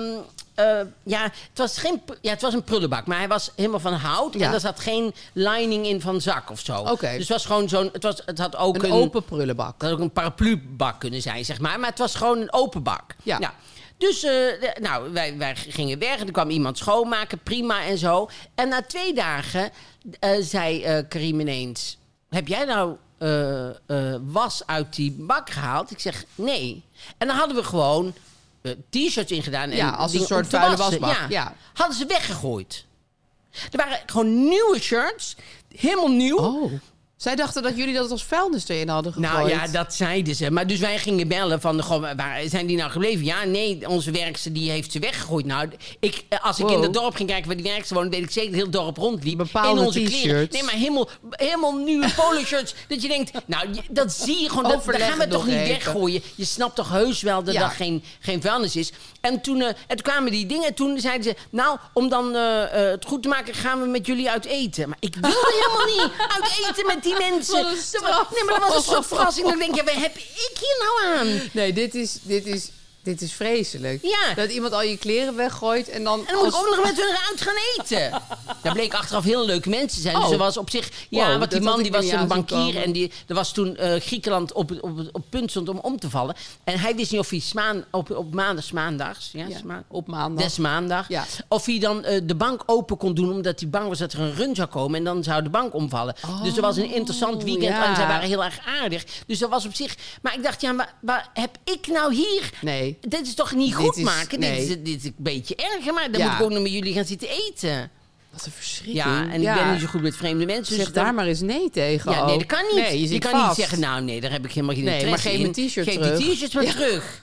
Speaker 2: eh, ja, het was geen, pr- ja, het was een prullenbak, maar hij was helemaal van hout
Speaker 4: Ja.
Speaker 2: en er zat geen lining in van zak of zo.
Speaker 4: Oké.
Speaker 2: Dus het was gewoon zo'n, het was, het had ook
Speaker 4: Een open prullenbak.
Speaker 2: dat had ook een paraplubak kunnen zijn, zeg maar. Maar het was gewoon een open bak.
Speaker 4: Ja.
Speaker 2: Dus eh, de- nou, wij, wij gingen weg en er kwam iemand schoonmaken, prima en zo. En na twee dagen eh, zei eh, Karim ineens... Heb jij nou eh, eh, was uit die bak gehaald? Ik zeg, nee. En dan hadden we gewoon eh, t-shirts ingedaan. en
Speaker 4: Ja, als een
Speaker 2: dingen
Speaker 4: soort
Speaker 2: om te
Speaker 4: vuile
Speaker 2: wassen.
Speaker 4: wasbak, ja.
Speaker 2: Hadden ze weggegooid. Er waren gewoon nieuwe shirts, helemaal nieuw.
Speaker 4: Oh. Zij dachten dat jullie dat als vuilnis erin hadden gegooid.
Speaker 2: Nou ja, dat zeiden ze. Maar dus wij gingen bellen van, goh, waar zijn die nou gebleven? Ja, nee, onze werkster die heeft ze weggegooid. Nou, ik, eh, als ik
Speaker 4: Wow.
Speaker 2: in het dorp ging kijken waar die werkster woonde, weet ik zeker dat heel het dorp rondliep.
Speaker 4: Bepaalde
Speaker 2: in onze
Speaker 4: t-shirts.
Speaker 2: kleren. Nee, maar helemaal, helemaal nieuwe polo shirts. dat je denkt, nou, je- dat zie je gewoon. Dat, dat
Speaker 4: Overleg
Speaker 2: gaan we
Speaker 4: het
Speaker 2: toch
Speaker 4: nog
Speaker 2: niet
Speaker 4: even.
Speaker 2: weggooien? Je snapt toch heus wel dat
Speaker 4: Ja.
Speaker 2: dat geen, geen vuilnis is? En toen, eh, en toen kwamen die dingen en toen zeiden ze, nou, om dan eh, eh, het goed te maken gaan we met jullie uit eten. Maar ik wilde helemaal niet uit eten met die mensen.
Speaker 4: Wat een
Speaker 2: Nee, maar dat was een soort verrassing. Dan denk je, waar heb ik hier nou aan?
Speaker 4: Nee, dit is, dit is Dit is vreselijk.
Speaker 2: Ja.
Speaker 4: Dat iemand al je kleren weggooit en dan...
Speaker 2: En dan moet ik
Speaker 4: als-
Speaker 2: ook nog met hun eruit gaan eten. Daar bleek achteraf heel leuke mensen te zijn. Dus
Speaker 4: Oh.
Speaker 2: er was op zich... Ja,
Speaker 4: Wow,
Speaker 2: want die
Speaker 4: dat had
Speaker 2: man
Speaker 4: ik
Speaker 2: die
Speaker 4: er
Speaker 2: was
Speaker 4: niet
Speaker 2: een
Speaker 4: aan zien
Speaker 2: bankier.
Speaker 4: komen.
Speaker 2: En die, er was toen eh, Griekenland op, het- op, het- op punt stond om om te vallen. En hij wist niet of hij smaan, op, op maandags, maandags... Ja,
Speaker 4: Ja,
Speaker 2: sma-
Speaker 4: op maandag.
Speaker 2: Des maandag.
Speaker 4: Ja.
Speaker 2: Of hij dan eh, de bank open kon doen omdat hij bang was dat er een run zou komen. En dan zou de bank omvallen. dus er was een interessant weekend
Speaker 4: Oh, ja.
Speaker 2: en zij waren heel erg aardig. Dus dat was op zich... Maar ik dacht, ja, maar waar heb ik nou hier...
Speaker 4: Nee.
Speaker 2: Dit is toch niet
Speaker 4: Dit
Speaker 2: goed
Speaker 4: is-
Speaker 2: maken?
Speaker 4: nee.
Speaker 2: Dit, is, dit is een beetje erger, maar dan
Speaker 4: Ja.
Speaker 2: moet ik ook nog met jullie gaan zitten eten.
Speaker 4: Wat een verschrikking.
Speaker 2: Ja, en ik ben niet zo goed met vreemde mensen.
Speaker 4: Zeg
Speaker 2: dus
Speaker 4: daar
Speaker 2: dan-
Speaker 4: maar eens nee tegen.
Speaker 2: Ja, nee, dat kan niet.
Speaker 4: Nee, je
Speaker 2: je
Speaker 4: zit
Speaker 2: kan
Speaker 4: vast.
Speaker 2: niet zeggen, nou nee, daar heb ik helemaal geen
Speaker 4: Nee, maar
Speaker 2: interesse
Speaker 4: geef
Speaker 2: in.
Speaker 4: mijn t-shirt
Speaker 2: Geef die
Speaker 4: terug.
Speaker 2: t-shirt maar terug.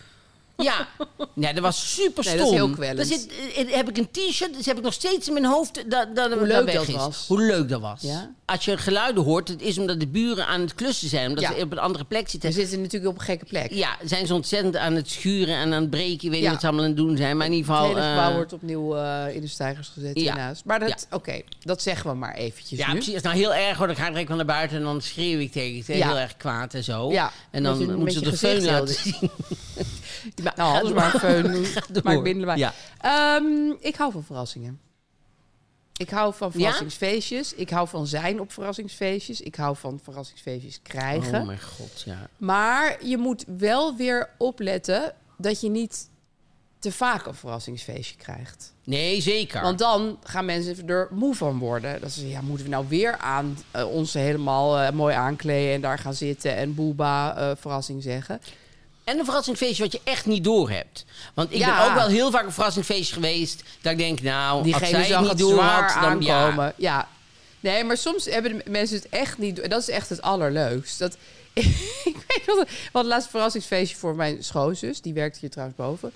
Speaker 2: Ja, nee, dat was super stom.
Speaker 4: Nee, dat is heel kwellend.
Speaker 2: Dan zit, eh, heb ik een t-shirt, dus heb ik nog steeds in mijn hoofd dat dat dat
Speaker 4: Hoe
Speaker 2: dat
Speaker 4: leuk
Speaker 2: weg
Speaker 4: dat
Speaker 2: is.
Speaker 4: was.
Speaker 2: Hoe leuk dat was.
Speaker 4: Ja.
Speaker 2: Als je geluiden hoort, het is omdat de buren aan het klussen zijn. Omdat
Speaker 4: Ja.
Speaker 2: ze op een andere plek
Speaker 4: We
Speaker 2: zitten.
Speaker 4: zitten natuurlijk op een gekke plek.
Speaker 2: Ja, zijn ze ontzettend aan het schuren en aan het breken. Ik weet niet
Speaker 4: Ja.
Speaker 2: wat ze allemaal aan het doen zijn, maar in ieder
Speaker 4: Het
Speaker 2: geval...
Speaker 4: hele
Speaker 2: eh,
Speaker 4: gebouw wordt opnieuw eh, in de stijgers gezet
Speaker 2: ja.
Speaker 4: hiernaast. Maar dat,
Speaker 2: Ja.
Speaker 4: oké, dat zeggen we maar eventjes
Speaker 2: Ja,
Speaker 4: nu.
Speaker 2: precies. Als het nou heel erg wordt, dan ga ik direct wel naar buiten en dan schreeuw ik tegen ze.
Speaker 4: Ja.
Speaker 2: Heel erg kwaad en zo.
Speaker 4: Ja,
Speaker 2: En dan
Speaker 4: met je-
Speaker 2: moeten ze
Speaker 4: met
Speaker 2: de
Speaker 4: je
Speaker 2: feun
Speaker 4: gezicht dus
Speaker 2: laten
Speaker 4: heel
Speaker 2: zien.
Speaker 4: Nou, alles
Speaker 2: door.
Speaker 4: maar feun.
Speaker 2: Ga door.
Speaker 4: Maak minder waar.
Speaker 2: Ja.
Speaker 4: Ehm, ik hou van verrassingen. Ik hou van verrassingsfeestjes. Ik hou van zijn op verrassingsfeestjes. Ik hou van verrassingsfeestjes krijgen.
Speaker 2: Oh mijn god, ja.
Speaker 4: Maar je moet wel weer opletten dat je niet te vaak een verrassingsfeestje krijgt.
Speaker 2: Nee, zeker.
Speaker 4: Want dan gaan mensen er moe van worden. Dat ze ja, moeten we nou weer aan eh, ons helemaal eh, mooi aankleden en daar gaan zitten en boeba eh, verrassing zeggen.
Speaker 2: En een verrassingsfeestje wat je echt niet door hebt. Want ik
Speaker 4: Ja.
Speaker 2: ben ook wel heel vaak een verrassingsfeestje geweest. Dat ik denk, nou, als
Speaker 4: Diegene
Speaker 2: zij het
Speaker 4: zag
Speaker 2: niet
Speaker 4: het
Speaker 2: door
Speaker 4: zwaar
Speaker 2: had, dan ja.
Speaker 4: aankomen. Ja. Nee, maar soms hebben de mensen het echt niet... En dat is echt het allerleukst. Dat, ik weet nog... dat- We hadden laatst een verrassingsfeestje voor mijn schoonzus. Die werkte hier trouwens boven.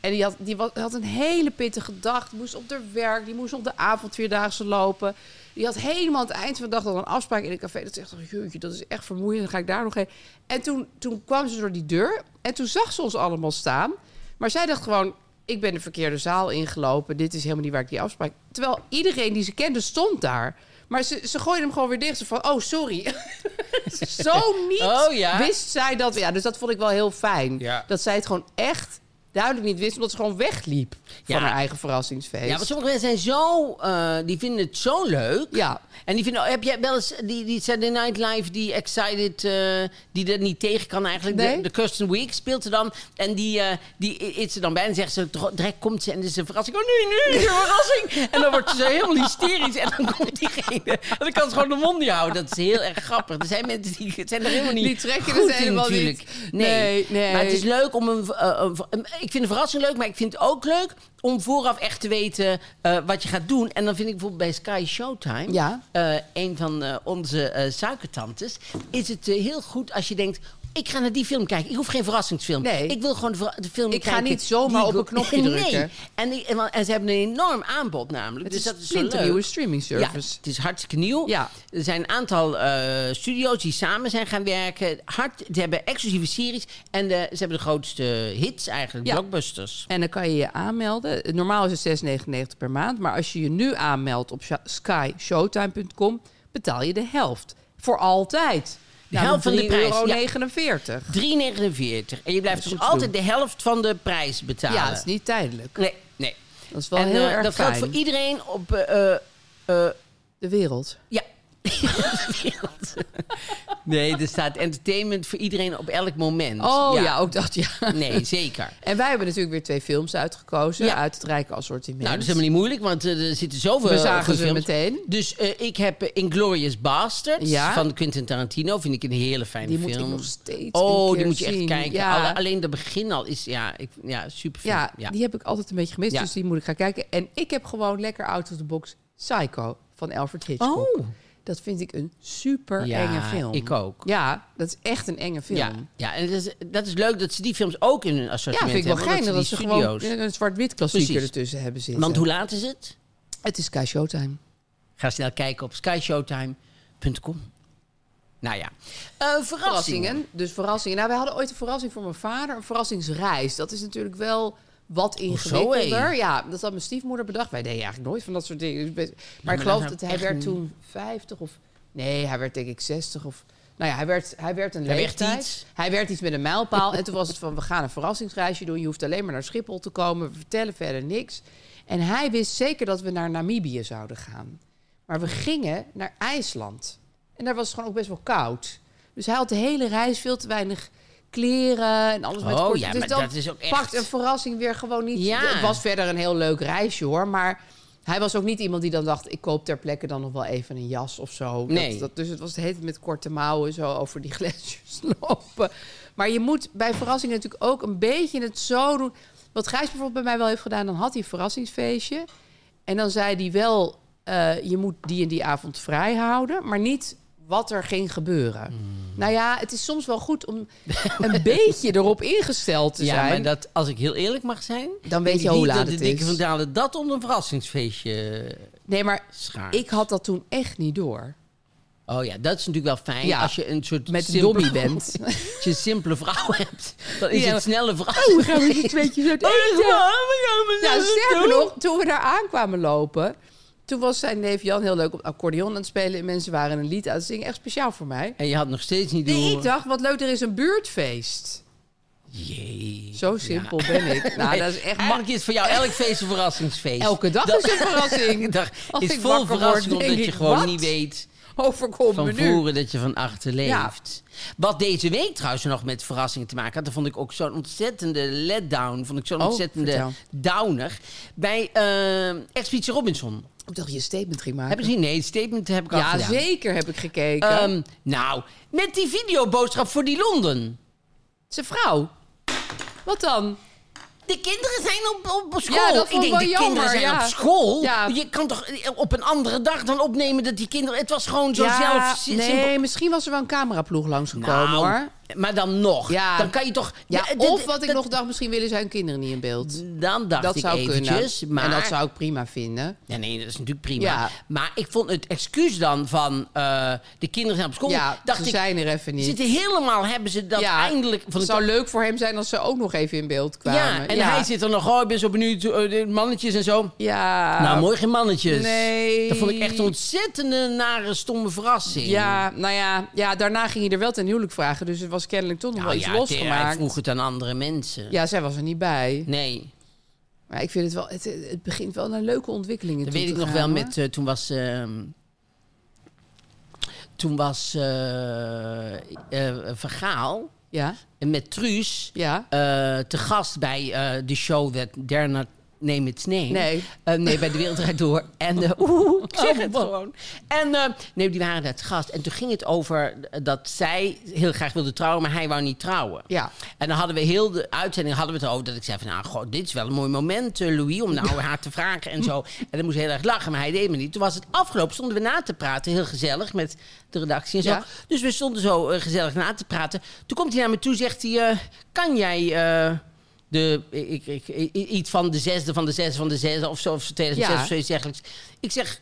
Speaker 4: En die had, die wa- had een hele pittige dag. Die moest op haar werk. Die moest op de avondvierdaagse lopen. Die had helemaal aan het eind van de dag al een afspraak in een café. Dat is echt, jeetje, dat is echt vermoeiend. Dan ga ik daar nog heen. En toen, toen kwam ze door die deur. En toen zag ze ons allemaal staan. Maar zij dacht gewoon, ik ben de verkeerde zaal ingelopen. Dit is helemaal niet waar ik die afspraak... Terwijl iedereen die ze kende stond daar. Maar ze, ze gooide hem gewoon weer dicht. Ze van, oh, sorry. Zo niet
Speaker 2: Oh, ja?
Speaker 4: wist zij dat. Ja, dus dat vond ik wel heel fijn.
Speaker 2: Ja.
Speaker 4: Dat zij het gewoon echt duidelijk niet wist. Omdat ze gewoon wegliep
Speaker 2: Ja.
Speaker 4: van haar eigen verrassingsfeest.
Speaker 2: Ja, want sommige mensen zijn zo... eh, die vinden het zo leuk.
Speaker 4: Ja.
Speaker 2: En die vinden, heb jij wel eens die, die Saturday Night Live, die Excited, eh, die er niet tegen kan eigenlijk.
Speaker 4: Nee.
Speaker 2: De, de Kirsten Week speelt ze dan. En die, eh die i- eet ze dan bij en zegt ze, dro- direct komt ze en dit is een verrassing. Oh nee, nee, dit is een verrassing. En dan wordt ze zo helemaal hysterisch en dan komt diegene. En dan kan ze gewoon de mond niet houden. Dat is heel erg grappig. Er zijn mensen die het zijn er helemaal niet
Speaker 4: Die trekken
Speaker 2: goed
Speaker 4: het
Speaker 2: in,
Speaker 4: helemaal niet.
Speaker 2: natuurlijk. Nee.
Speaker 4: Nee, nee.
Speaker 2: maar het is leuk om een, eh, een ver- een- Ik vind een verrassing leuk, maar ik vind het ook leuk om vooraf echt te weten eh, wat je gaat doen. En dan vind ik bijvoorbeeld bij Sky Showtime
Speaker 4: Ja.
Speaker 2: eh, een van eh, onze eh suikertantes, is het eh, heel goed als je denkt. Ik ga naar die film kijken. Ik hoef geen verrassingsfilm.
Speaker 4: Nee.
Speaker 2: Ik wil gewoon de, ver- de film
Speaker 4: Ik ga
Speaker 2: kijken.
Speaker 4: niet zomaar
Speaker 2: die
Speaker 4: op
Speaker 2: ik-
Speaker 4: een knopje
Speaker 2: nee.
Speaker 4: drukken.
Speaker 2: En, die- en, wa- en ze hebben een enorm aanbod namelijk.
Speaker 4: Het
Speaker 2: dus
Speaker 4: is
Speaker 2: dat is zo
Speaker 4: een
Speaker 2: leuk.
Speaker 4: nieuwe streaming service.
Speaker 2: Ja, het is hartstikke nieuw.
Speaker 4: Ja.
Speaker 2: Er zijn een aantal eh, studio's die samen zijn gaan werken. Hard, ze hebben exclusieve series. En de- ze hebben de grootste hits eigenlijk.
Speaker 4: Ja.
Speaker 2: Blockbusters.
Speaker 4: En dan kan je je aanmelden. Normaal is het 6,99 per maand. Maar als je je nu aanmeldt op sha- skyshowtime.com, betaal je de helft. Voor altijd.
Speaker 2: De helft van de prijs,
Speaker 4: Euro
Speaker 2: ja.
Speaker 4: 49.
Speaker 2: 3,49. En je blijft
Speaker 4: Dat is
Speaker 2: dus
Speaker 4: goed te
Speaker 2: altijd de helft van de prijs betalen.
Speaker 4: Ja, dat is niet tijdelijk.
Speaker 2: Nee, nee.
Speaker 4: Dat is wel
Speaker 2: en,
Speaker 4: heel
Speaker 2: eh,
Speaker 4: erg
Speaker 2: Dat
Speaker 4: fijn.
Speaker 2: geldt voor iedereen op... eh, eh, eh,
Speaker 4: De wereld.
Speaker 2: ja. Wereld. nee, er staat entertainment voor iedereen op elk moment.
Speaker 4: Oh ja, ook dat ja.
Speaker 2: Nee, zeker.
Speaker 4: En wij hebben natuurlijk weer twee films uitgekozen
Speaker 2: Ja.
Speaker 4: uit het rijke assortiment.
Speaker 2: Nou, dat is helemaal niet moeilijk, want eh, er zitten zoveel
Speaker 4: We zagen
Speaker 2: goede
Speaker 4: ze
Speaker 2: films.
Speaker 4: meteen.
Speaker 2: Dus eh, ik heb eh, Inglourious Basterds
Speaker 4: Ja.
Speaker 2: van Quentin Tarantino. Vind ik een hele fijne
Speaker 4: Die
Speaker 2: film.
Speaker 4: moet ik nog steeds een
Speaker 2: Oh,
Speaker 4: keer
Speaker 2: die moet je echt
Speaker 4: zien.
Speaker 2: kijken.
Speaker 4: Ja.
Speaker 2: Alle- alleen dat begin al is... Ja, ik, ja super
Speaker 4: Ja, die heb ik altijd een beetje gemist,
Speaker 2: Ja.
Speaker 4: dus die moet ik gaan kijken. En ik heb gewoon lekker out of the box Psycho van Alfred Hitchcock.
Speaker 2: Oh.
Speaker 4: Dat vind ik een super
Speaker 2: Ja,
Speaker 4: enge film.
Speaker 2: ik ook.
Speaker 4: Ja, dat is echt een enge film.
Speaker 2: Ja, ja en dat is, dat is leuk dat ze die films ook in hun
Speaker 4: Ja,
Speaker 2: assortiment
Speaker 4: vind ik wel
Speaker 2: hebben.
Speaker 4: geinig dat,
Speaker 2: omdat
Speaker 4: ze
Speaker 2: die
Speaker 4: gewoon
Speaker 2: studio's-
Speaker 4: een zwart-wit klassieker
Speaker 2: Precies.
Speaker 4: ertussen hebben zitten.
Speaker 2: Want hoe laat is het?
Speaker 4: Het is Sky Showtime.
Speaker 2: Ga snel kijken op skyshowtime.com. Nou ja. Eh, verrassingen.
Speaker 4: Verrassingen, dus verrassingen. Nou, wij hadden ooit een verrassing voor mijn vader, een verrassingsreis. Dat is natuurlijk wel wat ingewikkelder.
Speaker 2: hé?
Speaker 4: ja, dat had mijn stiefmoeder bedacht. Wij deden eigenlijk nooit van dat soort dingen. Dus best- Maar
Speaker 2: maar
Speaker 4: ik geloof
Speaker 2: dat
Speaker 4: dat
Speaker 2: zou
Speaker 4: hij
Speaker 2: echt
Speaker 4: werd
Speaker 2: niet-
Speaker 4: toen 50 of... Nee, hij werd denk ik 60 of... Nou ja, hij werd, hij werd een
Speaker 2: Hij werd
Speaker 4: leeftijd.
Speaker 2: iets.
Speaker 4: Hij werd iets met een mijlpaal. en toen was het van, we gaan een verrassingsreisje doen. Je hoeft alleen maar naar Schiphol te komen. We vertellen verder niks. En hij wist zeker dat we naar Namibië zouden gaan. Maar we gingen naar IJsland. En daar was het gewoon ook best wel koud. Dus hij had de hele reis veel te weinig kleren en alles met
Speaker 2: Oh
Speaker 4: kort.
Speaker 2: ja,
Speaker 4: dus
Speaker 2: maar
Speaker 4: dan
Speaker 2: dat is ook echt-
Speaker 4: pakt een verrassing weer gewoon niet.
Speaker 2: Ja.
Speaker 4: Het was verder een heel leuk reisje hoor, maar... Hij was ook niet iemand die dan dacht, ik koop ter plekke dan nog wel even een jas of zo. Dat-
Speaker 2: Nee.
Speaker 4: Dat, dus het was het heet met korte mouwen zo over die gletsjers lopen. Maar je moet bij verrassingen natuurlijk ook een beetje het zo doen. Wat Gijs bijvoorbeeld bij mij wel heeft gedaan, dan had hij een verrassingsfeestje. En dan zei hij wel, eh, je moet die en die avond vrij houden, maar niet wat er ging gebeuren.
Speaker 2: Hmm.
Speaker 4: Nou ja, het is soms wel goed om een beetje erop ingesteld te
Speaker 2: ja,
Speaker 4: zijn.
Speaker 2: maar dat, als ik heel eerlijk mag zijn...
Speaker 4: Dan weet je hoe laat
Speaker 2: de
Speaker 4: het
Speaker 2: dikke
Speaker 4: is.
Speaker 2: Van Dalen dat onder een verrassingsfeestje
Speaker 4: Nee, maar
Speaker 2: schaart.
Speaker 4: ik had dat toen echt niet door.
Speaker 2: Oh ja, dat is natuurlijk wel fijn
Speaker 4: Ja,
Speaker 2: als je een soort...
Speaker 4: met een
Speaker 2: simpele-
Speaker 4: dobby bent.
Speaker 2: als je een simpele vrouw hebt, dan is
Speaker 4: Ja.
Speaker 2: het snelle verrassing.
Speaker 4: we Oh, gaan met Oh, z'n tweetjes
Speaker 2: Oh,
Speaker 4: uit eten. Ja, sterker nog, toen we daar aankwamen lopen... Toen was zijn neef Jan heel leuk op accordeon aan het spelen. En mensen waren een lied aan het zingen. Echt speciaal voor mij.
Speaker 2: En je had nog steeds niet
Speaker 4: Nee,
Speaker 2: door.
Speaker 4: ik dacht, wat leuk, er is een buurtfeest.
Speaker 2: Jee.
Speaker 4: Zo simpel ben ik. Nou, dat is echt
Speaker 2: Eigenlijk is voor jou elk feest een verrassingsfeest.
Speaker 4: Elke dag
Speaker 2: Dat-
Speaker 4: is een verrassing.
Speaker 2: Elke dag
Speaker 4: Als
Speaker 2: is
Speaker 4: ik
Speaker 2: vol
Speaker 4: wakker
Speaker 2: verrassing
Speaker 4: word, denk
Speaker 2: omdat je
Speaker 4: ik,
Speaker 2: gewoon
Speaker 4: wat?
Speaker 2: niet weet
Speaker 4: overkomt me
Speaker 2: van
Speaker 4: nu.
Speaker 2: voren dat je van achter leeft. Wat deze week trouwens nog met verrassingen te maken had, dat vond ik ook zo'n ontzettende letdown. Vond ik zo'n
Speaker 4: Oh,
Speaker 2: ontzettende
Speaker 4: vertel.
Speaker 2: downer. Bij eh Expeditie Robinson.
Speaker 4: Ik dacht, je statement ging maken.
Speaker 2: Heb je gezien? Nee, het statement heb ik al
Speaker 4: ja,
Speaker 2: gedaan.
Speaker 4: zeker heb ik gekeken.
Speaker 2: Ehm, nou, met die videoboodschap voor die Londen.
Speaker 4: Zijn vrouw. Wat dan?
Speaker 2: De kinderen zijn op, op school.
Speaker 4: Ja, dat
Speaker 2: ik
Speaker 4: vond ik
Speaker 2: denk,
Speaker 4: wel
Speaker 2: de
Speaker 4: jammer,
Speaker 2: kinderen zijn
Speaker 4: ja.
Speaker 2: op school.
Speaker 4: Ja.
Speaker 2: Je kan toch eh, op een andere dag dan opnemen dat die kinderen... Het was gewoon zo zelf...
Speaker 4: nee, misschien was er wel een cameraploeg langsgekomen
Speaker 2: Nou,
Speaker 4: hoor.
Speaker 2: maar dan nog.
Speaker 4: Ja.
Speaker 2: Dan kan je toch...
Speaker 4: Ja,
Speaker 2: d- d-
Speaker 4: of wat
Speaker 2: d-
Speaker 4: ik nog dacht, misschien willen zijn kinderen niet in beeld.
Speaker 2: Dan dacht
Speaker 4: Dat
Speaker 2: ik
Speaker 4: zou
Speaker 2: eventjes,
Speaker 4: kunnen.
Speaker 2: maar...
Speaker 4: En dat zou ik prima vinden.
Speaker 2: Ja, nee, dat is natuurlijk prima.
Speaker 4: Ja.
Speaker 2: Maar ik vond het excuus dan van eh, de kinderen zijn op school...
Speaker 4: Ja,
Speaker 2: dacht
Speaker 4: ze
Speaker 2: ik,
Speaker 4: zijn er even niet.
Speaker 2: Zitten helemaal, hebben ze dat
Speaker 4: ja,
Speaker 2: eindelijk...
Speaker 4: het
Speaker 2: ik
Speaker 4: zou leuk voor hem zijn als ze ook nog even in beeld kwamen.
Speaker 2: Ja, en hij zit er nog, oh, ik ben zo benieuwd, eh, de mannetjes en zo.
Speaker 4: Ja.
Speaker 2: nou, mooi geen mannetjes.
Speaker 4: nee.
Speaker 2: Dat vond ik echt een ontzettende nare, stomme verrassing.
Speaker 4: Ja, nou ja, ja, daarna ging hij er wel ten huwelijk vragen. Dus het was kennelijk toch nog
Speaker 2: Nou
Speaker 4: wel iets
Speaker 2: ja, hij
Speaker 4: losgemaakt.
Speaker 2: vroeg het aan andere mensen.
Speaker 4: Ja, zij was er niet bij.
Speaker 2: Nee,
Speaker 4: Maar ik vind het wel, het, het begint wel naar leuke ontwikkelingen
Speaker 2: dat
Speaker 4: toe
Speaker 2: weet ik
Speaker 4: te
Speaker 2: nog
Speaker 4: gaan,
Speaker 2: wel
Speaker 4: hoor.
Speaker 2: met, eh, toen was... ehm, toen was eh, eh, Vergaal
Speaker 4: Ja,
Speaker 2: en met Truus
Speaker 4: ja.
Speaker 2: eh, te gast bij eh, de show That Dare Not Name Its Name.
Speaker 4: Nee. Oh,
Speaker 2: Eh, nee, bij De Wereld Draait Door. En eh, oeh, ik zeg het gewoon. En eh, nee, die waren daar te gast. En toen ging het over dat zij heel graag wilde trouwen, maar hij wou niet trouwen.
Speaker 4: Ja.
Speaker 2: En dan hadden we heel de uitzending hadden we het over dat ik zei van nou, god, dit is wel een mooi moment, eh, Louis, om nou haar te vragen en zo. En dan moest hij heel erg lachen, maar hij deed me niet. Toen was het afgelopen, stonden we na te praten, heel gezellig met de redactie en zo.
Speaker 4: Ja.
Speaker 2: Dus we stonden zo eh, gezellig na te praten. Toen komt hij naar me toe, zegt hij, eh, kan jij eh, de, ik, ik, ik- iets van de zesde, van de zesde, van de zesde of zo, of 2006
Speaker 4: Ja.
Speaker 2: of zoiets dergelijks. Ik zeg,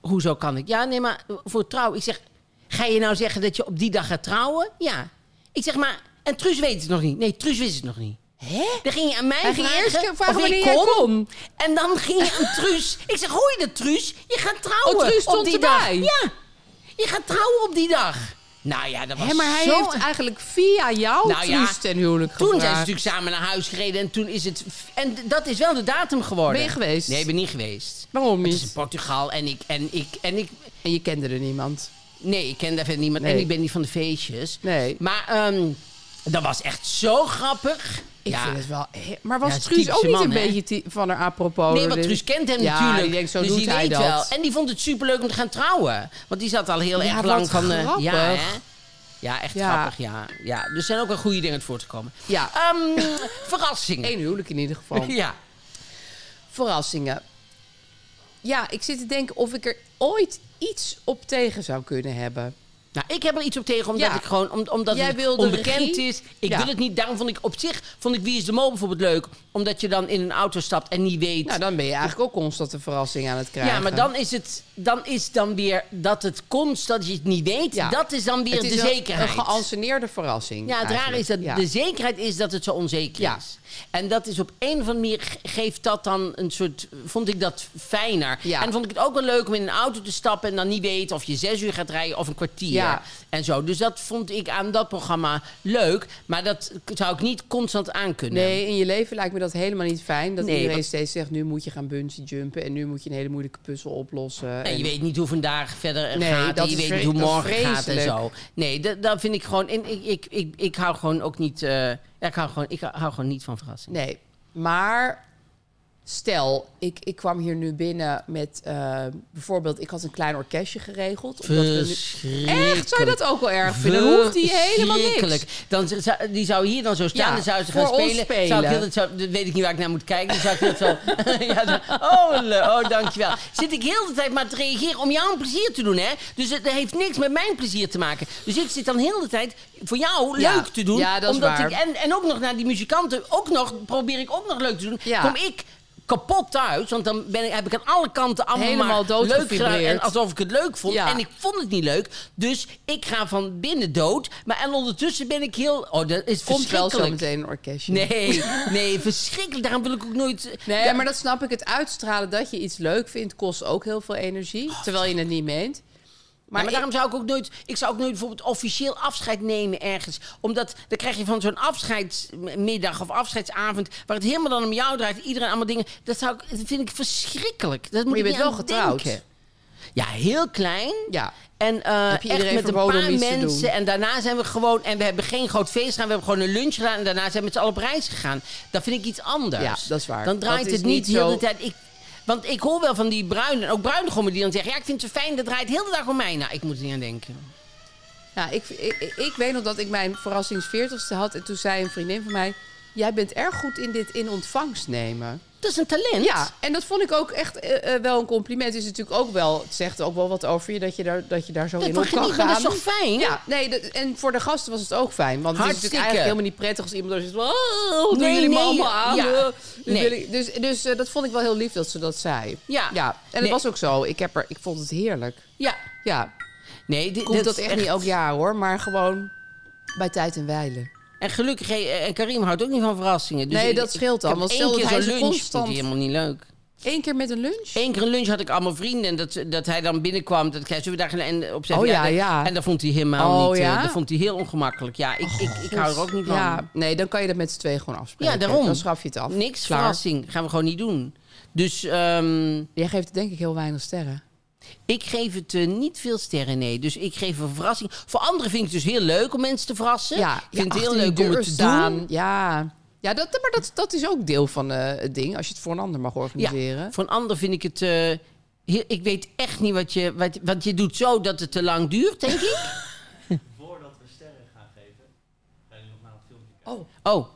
Speaker 2: hoezo kan ik? Ja, nee, maar voor trouw. Ik zeg, ga je nou zeggen dat je op die dag gaat trouwen? Ja. Ik zeg maar, en Truus weet het nog niet. Nee, Truus wist het nog niet. Hè? Dan ging je aan mij
Speaker 4: Hij ging
Speaker 2: vragen,
Speaker 4: eerst vragen
Speaker 2: of ik
Speaker 4: wanneer jij kon.
Speaker 2: En dan ging je aan Truus. Ik zeg, hoor je dat, Truus? Je gaat trouwen
Speaker 4: Oh, Truus
Speaker 2: op
Speaker 4: stond
Speaker 2: die dag.
Speaker 4: erbij.
Speaker 2: Ja, je gaat trouwen op die dag. Nou ja, dat was
Speaker 4: Hè, maar hij
Speaker 2: zo
Speaker 4: heeft eigenlijk via jou
Speaker 2: Nou ja,
Speaker 4: Truus ten huwelijk
Speaker 2: toen zijn ze
Speaker 4: gevraagd.
Speaker 2: natuurlijk samen naar huis gereden en toen is het... En d- dat is wel de datum geworden.
Speaker 4: Ben je geweest?
Speaker 2: Nee, ik ben niet geweest.
Speaker 4: Waarom
Speaker 2: Het is in
Speaker 4: niet?
Speaker 2: Portugal en ik... En ik, en ik
Speaker 4: En je kende er niemand.
Speaker 2: nee, ik ken daar verder niemand en
Speaker 4: Nee.
Speaker 2: ik ben niet van de feestjes.
Speaker 4: Nee.
Speaker 2: Maar ehm, dat was echt zo grappig.
Speaker 4: Ik
Speaker 2: ja.
Speaker 4: vind het wel... he- Maar was
Speaker 2: Ja, het is
Speaker 4: Truus ook
Speaker 2: typische
Speaker 4: niet
Speaker 2: man,
Speaker 4: een
Speaker 2: hè?
Speaker 4: beetje ti- van haar apropos?
Speaker 2: Nee, want
Speaker 4: Dus-
Speaker 2: Truus kent hem
Speaker 4: ja,
Speaker 2: natuurlijk.
Speaker 4: die denkt, zo
Speaker 2: dus
Speaker 4: doet
Speaker 2: die
Speaker 4: hij
Speaker 2: weet
Speaker 4: dat.
Speaker 2: wel. En die vond het superleuk om te gaan trouwen. Want die zat al heel
Speaker 4: Ja,
Speaker 2: erg
Speaker 4: wat
Speaker 2: lang van... eh, ja,
Speaker 4: grappig.
Speaker 2: hè? ja, echt
Speaker 4: Ja.
Speaker 2: grappig, ja. ja. dus Er zijn ook wel goede dingen voor te komen.
Speaker 4: Ja.
Speaker 2: Ehm, verrassingen.
Speaker 4: Eén huwelijk in ieder geval.
Speaker 2: Ja.
Speaker 4: Verrassingen. Ja, ik zit te denken of ik er ooit iets op tegen zou kunnen hebben.
Speaker 2: Nou, ik heb er iets op tegen, omdat
Speaker 4: Ja.
Speaker 2: ik gewoon, om- omdat
Speaker 4: Jij
Speaker 2: het
Speaker 4: wil de
Speaker 2: onbekend
Speaker 4: regie?
Speaker 2: is. Ik
Speaker 4: Ja.
Speaker 2: wil het niet. Daarom vond ik op zich, vond ik Wie is de Mol bijvoorbeeld leuk. Omdat je dan in een auto stapt en niet weet.
Speaker 4: Nou, dan ben je eigenlijk ook constant een verrassing aan het krijgen.
Speaker 2: ja, maar dan is het, dan is dan weer dat het komt, dat je het niet weet.
Speaker 4: Ja.
Speaker 2: Dat is dan weer
Speaker 4: Het is
Speaker 2: de
Speaker 4: een-
Speaker 2: zekerheid.
Speaker 4: Een geanceneerde verrassing.
Speaker 2: ja, het raar
Speaker 4: eigenlijk.
Speaker 2: is dat
Speaker 4: Ja.
Speaker 2: de zekerheid is dat het zo onzeker
Speaker 4: Ja.
Speaker 2: is. En dat is op een of andere manier ge- geeft dat dan een soort. Vond ik dat fijner.
Speaker 4: Ja.
Speaker 2: En vond ik het ook wel leuk om in een auto te stappen en dan niet weten of je zes uur gaat rijden of een kwartier. weer. En zo. Dus dat vond ik aan dat programma leuk. Maar dat k- zou ik niet constant aankunnen.
Speaker 4: Nee, in je leven lijkt me dat helemaal niet fijn. Dat
Speaker 2: Nee,
Speaker 4: iedereen
Speaker 2: want-
Speaker 4: steeds zegt, nu moet je gaan bungee jumpen... en nu moet je een hele moeilijke puzzel oplossen.
Speaker 2: En je
Speaker 4: en-
Speaker 2: weet niet hoe vandaag verder
Speaker 4: Nee,
Speaker 2: gaat.
Speaker 4: dat
Speaker 2: en je
Speaker 4: is
Speaker 2: weet
Speaker 4: vre-
Speaker 2: niet hoe
Speaker 4: dat is
Speaker 2: morgen gaat en
Speaker 4: vreselijk.
Speaker 2: zo. Nee, dat, dat vind ik gewoon. En ik, ik, ik, ik hou gewoon ook niet. eh, ja, ik, hou gewoon, ik hou gewoon niet van verrassingen.
Speaker 4: Nee, maar stel, ik, ik kwam hier nu binnen met eh, bijvoorbeeld, ik had een klein orkestje geregeld. omdat we nu-
Speaker 2: Verschrikkelijk.
Speaker 4: Echt? Zou je dat ook wel erg vinden? Dan hoeft hij helemaal
Speaker 2: Verschrikkelijk.
Speaker 4: niks.
Speaker 2: Dan z- zou- die zou hier dan zo staan,
Speaker 4: Ja,
Speaker 2: dan zou ze gaan
Speaker 4: voor ons
Speaker 2: spelen.
Speaker 4: spelen.
Speaker 2: Zou ik heel, dat zou, dat weet ik niet waar ik naar moet kijken. Dan zou ik dat zo... ja, dan- oh, le- oh, dankjewel. Zit ik heel de tijd maar te reageren om jou een plezier te doen, hè? Dus het heeft niks met mijn plezier te maken. Dus ik zit dan heel de tijd voor jou
Speaker 4: Ja.
Speaker 2: leuk te doen.
Speaker 4: Ja, dat is
Speaker 2: omdat
Speaker 4: waar.
Speaker 2: Ik, en, en ook nog naar die muzikanten, ook nog, probeer ik ook nog leuk te doen.
Speaker 4: Ja.
Speaker 2: Kom ik kapot thuis, want dan ben ik, heb ik aan alle kanten allemaal
Speaker 4: Helemaal
Speaker 2: maar leuk gedaan. En
Speaker 4: doodgefibreerd.
Speaker 2: alsof ik het leuk vond.
Speaker 4: Ja.
Speaker 2: En ik vond het niet leuk. Dus ik ga van binnen dood. Maar en ondertussen ben ik heel... Oh, dat is
Speaker 4: Komt wel zo
Speaker 2: verschrikkelijk.
Speaker 4: meteen een orkestje.
Speaker 2: Nee, nee, verschrikkelijk. Daarom wil ik ook nooit...
Speaker 4: Nee,
Speaker 2: Ja,
Speaker 4: maar dat snap ik. Het uitstralen dat je iets leuk vindt kost ook heel veel energie. Terwijl je het niet meent.
Speaker 2: Oh, Maar,
Speaker 4: Maar, ik-
Speaker 2: daarom zou ik ook nooit... Ik zou ook nooit bijvoorbeeld officieel afscheid nemen ergens. Omdat dan krijg je van zo'n afscheidsmiddag of afscheidsavond... waar het helemaal dan om jou draait. Iedereen allemaal dingen. Dat, zou ik, dat vind ik verschrikkelijk. Dat moet
Speaker 4: maar
Speaker 2: ik
Speaker 4: je bent
Speaker 2: niet
Speaker 4: wel
Speaker 2: aan
Speaker 4: getrouwd.
Speaker 2: denken. Ja, heel klein.
Speaker 4: Ja.
Speaker 2: En eh
Speaker 4: Heb je
Speaker 2: echt
Speaker 4: iedereen
Speaker 2: met een
Speaker 4: verboden
Speaker 2: paar
Speaker 4: om iets te doen?
Speaker 2: mensen. En daarna zijn we gewoon. En we hebben geen groot feest gedaan. We hebben gewoon een lunch gedaan. En daarna zijn we met z'n allen op reis gegaan. Dat vind ik iets anders.
Speaker 4: Ja, dat is waar.
Speaker 2: Dan draait
Speaker 4: Dat is
Speaker 2: het niet,
Speaker 4: niet
Speaker 2: heel
Speaker 4: zo-
Speaker 2: de tijd. Ik, want ik hoor wel van die bruinen. Ook bruinegommen die dan zeggen. Ja, ik vind het zo fijn. Dat draait heel de dag om mij. Nou, ik moet er niet aan denken.
Speaker 4: Ja, ik, ik, ik weet nog dat ik mijn verrassings 40ste had. En toen zei een vriendin van mij... Jij bent erg goed in dit in ontvangst nemen.
Speaker 2: Dat is een talent.
Speaker 4: Ja, en dat vond ik ook echt eh, eh, wel een compliment. Is natuurlijk ook wel, het zegt ook wel wat over je dat je daar, dat je daar zo
Speaker 2: Dat
Speaker 4: in
Speaker 2: van
Speaker 4: op kan
Speaker 2: geniet, maar dat
Speaker 4: gaan.
Speaker 2: is toch fijn?
Speaker 4: Ja, nee, dat- en voor de gasten was het ook fijn. Want het is natuurlijk
Speaker 2: Hartstikke.
Speaker 4: eigenlijk helemaal niet prettig als iemand daar zit. Oh, doen
Speaker 2: Nee,
Speaker 4: jullie me
Speaker 2: nee,
Speaker 4: allemaal aan?
Speaker 2: ja.
Speaker 4: Eh, dus
Speaker 2: Nee.
Speaker 4: wil ik- dus dus eh, dat vond ik wel heel lief dat ze dat zei.
Speaker 2: Ja.
Speaker 4: ja. En dat
Speaker 2: Nee.
Speaker 4: was ook zo. Ik, heb er, ik vond het heerlijk.
Speaker 2: ja.
Speaker 4: Ja,
Speaker 2: Nee, dit,
Speaker 4: komt dat,
Speaker 2: is
Speaker 4: echt niet elk jaar hoor, maar gewoon bij tijd en wijlen.
Speaker 2: En gelukkig, eh, en Karim houdt ook niet van verrassingen. Dus
Speaker 4: Nee,
Speaker 2: ik-
Speaker 4: dat
Speaker 2: ik-
Speaker 4: scheelt
Speaker 2: ik
Speaker 4: dan,
Speaker 2: heb
Speaker 4: want
Speaker 2: één
Speaker 4: stel
Speaker 2: keer
Speaker 4: dat hij
Speaker 2: zo'n
Speaker 4: ze
Speaker 2: lunch vond
Speaker 4: constant-
Speaker 2: hij helemaal niet leuk.
Speaker 4: Eén keer met een lunch?
Speaker 2: Eén keer een lunch had ik allemaal vrienden. En dat, dat hij dan binnenkwam. Dat ik zei, zullen we daar gaan? En op zijn
Speaker 4: Oh, ja,
Speaker 2: verjaardag.
Speaker 4: ja.
Speaker 2: En dat vond hij helemaal
Speaker 4: Oh,
Speaker 2: niet... eh,
Speaker 4: ja?
Speaker 2: dat vond hij heel ongemakkelijk. Ja, ik, ik, ik hou er ook niet van.
Speaker 4: Ja,
Speaker 2: Ja,
Speaker 4: nee, dan kan je dat met z'n tweeën gewoon afspreken.
Speaker 2: daarom.
Speaker 4: Dan schaf je het af.
Speaker 2: Niks
Speaker 4: Klaar.
Speaker 2: verrassing. Gaan we gewoon niet doen. Dus ehm,
Speaker 4: Jij geeft het denk ik heel weinig sterren.
Speaker 2: ik geef het eh, niet veel sterren, nee. Dus ik geef een verrassing. Voor anderen vind ik het dus heel leuk om mensen te verrassen. ik vind het heel
Speaker 4: achter die
Speaker 2: leuk om
Speaker 4: deur
Speaker 2: het te
Speaker 4: staan.
Speaker 2: doen.
Speaker 4: Ja, ja dat, maar dat, dat is ook deel van eh, het ding. Als je het voor een ander mag organiseren.
Speaker 2: Ja, voor een ander vind ik het... eh, heel- ik weet echt niet wat je... Wat, want je doet zo dat het te lang duurt, denk ik.
Speaker 8: Voordat we sterren gaan geven, ga je nog naar het filmpje kijken.
Speaker 2: Oh,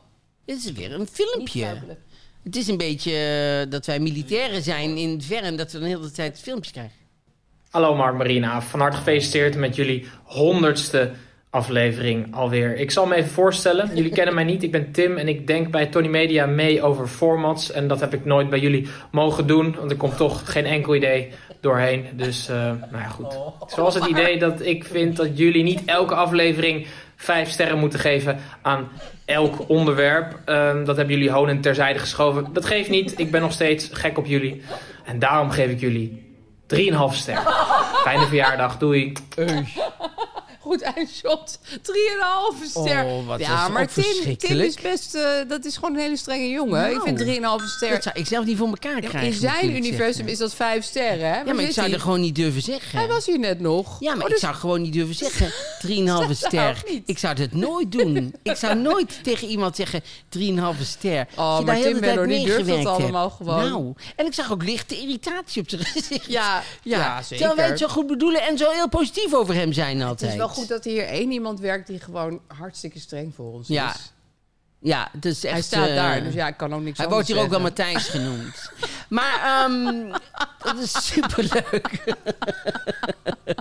Speaker 2: dit is weer een filmpje. Het is een beetje eh, dat wij militairen zijn in het ver en dat we dan heel de tijd filmpjes krijgen.
Speaker 9: Hallo Mark Marina, van harte gefeliciteerd met jullie honderdste aflevering alweer. Ik zal me even voorstellen, jullie kennen mij niet, ik ben Tim en ik denk bij Tony Media mee over formats. En dat heb ik nooit bij jullie mogen doen, want er komt toch geen enkel idee doorheen. Dus, eh, nou ja goed. Zoals het idee dat ik vind dat jullie niet elke aflevering vijf sterren moeten geven aan elk onderwerp. Ehm, dat hebben jullie honend terzijde geschoven. Dat geeft niet, ik ben nog steeds gek op jullie. En daarom geef ik jullie 3,5 ster. Fijne verjaardag, doei.
Speaker 4: Goed eindshot. 3,5 ster.
Speaker 2: Oh, wat is
Speaker 4: ja,
Speaker 2: dat
Speaker 4: maar Tim, Tim
Speaker 2: verschrikkelijk.
Speaker 4: is best... eh, dat is gewoon een hele strenge jongen.
Speaker 2: Nou.
Speaker 4: ik vind 3,5 ster.
Speaker 2: Dat zou ik zelf niet voor elkaar krijgen.
Speaker 4: In
Speaker 2: moet
Speaker 4: zijn
Speaker 2: ik
Speaker 4: universum
Speaker 2: zeggen.
Speaker 4: is dat 5 sterren. Hè?
Speaker 2: Ja, maar ik zou er gewoon niet durven zeggen.
Speaker 4: Hij was hier net nog.
Speaker 2: Ja, maar
Speaker 4: Oh,
Speaker 2: ik
Speaker 4: dus-
Speaker 2: zou gewoon niet durven zeggen 3,5 ster.
Speaker 4: ook niet.
Speaker 2: Ik zou dat nooit doen. ik zou nooit tegen iemand zeggen 3,5 ster.
Speaker 4: Oh,
Speaker 2: Als je
Speaker 4: maar
Speaker 2: daar heel
Speaker 4: Tim
Speaker 2: de tijd
Speaker 4: Benno, die durft dat
Speaker 2: meegewerkt hebt.
Speaker 4: allemaal gewoon.
Speaker 2: Nou, en ik zag ook lichte irritatie op zijn gezicht.
Speaker 4: Ja, ja,
Speaker 2: Terwijl wij het zo
Speaker 4: zeker.
Speaker 2: goed bedoelen en zo heel positief over hem zijn altijd.
Speaker 4: Het is wel goed dat er hier één iemand werkt die gewoon hartstikke streng voor ons
Speaker 2: Ja,
Speaker 4: is.
Speaker 2: Ja, het is echt...
Speaker 4: Hij staat
Speaker 2: eh,
Speaker 4: daar, dus ja, ik kan ook niks
Speaker 2: Hij wordt
Speaker 4: anders
Speaker 2: hier ook wel
Speaker 4: zeggen.
Speaker 2: Matthijs genoemd. Maar ehm dat is superleuk.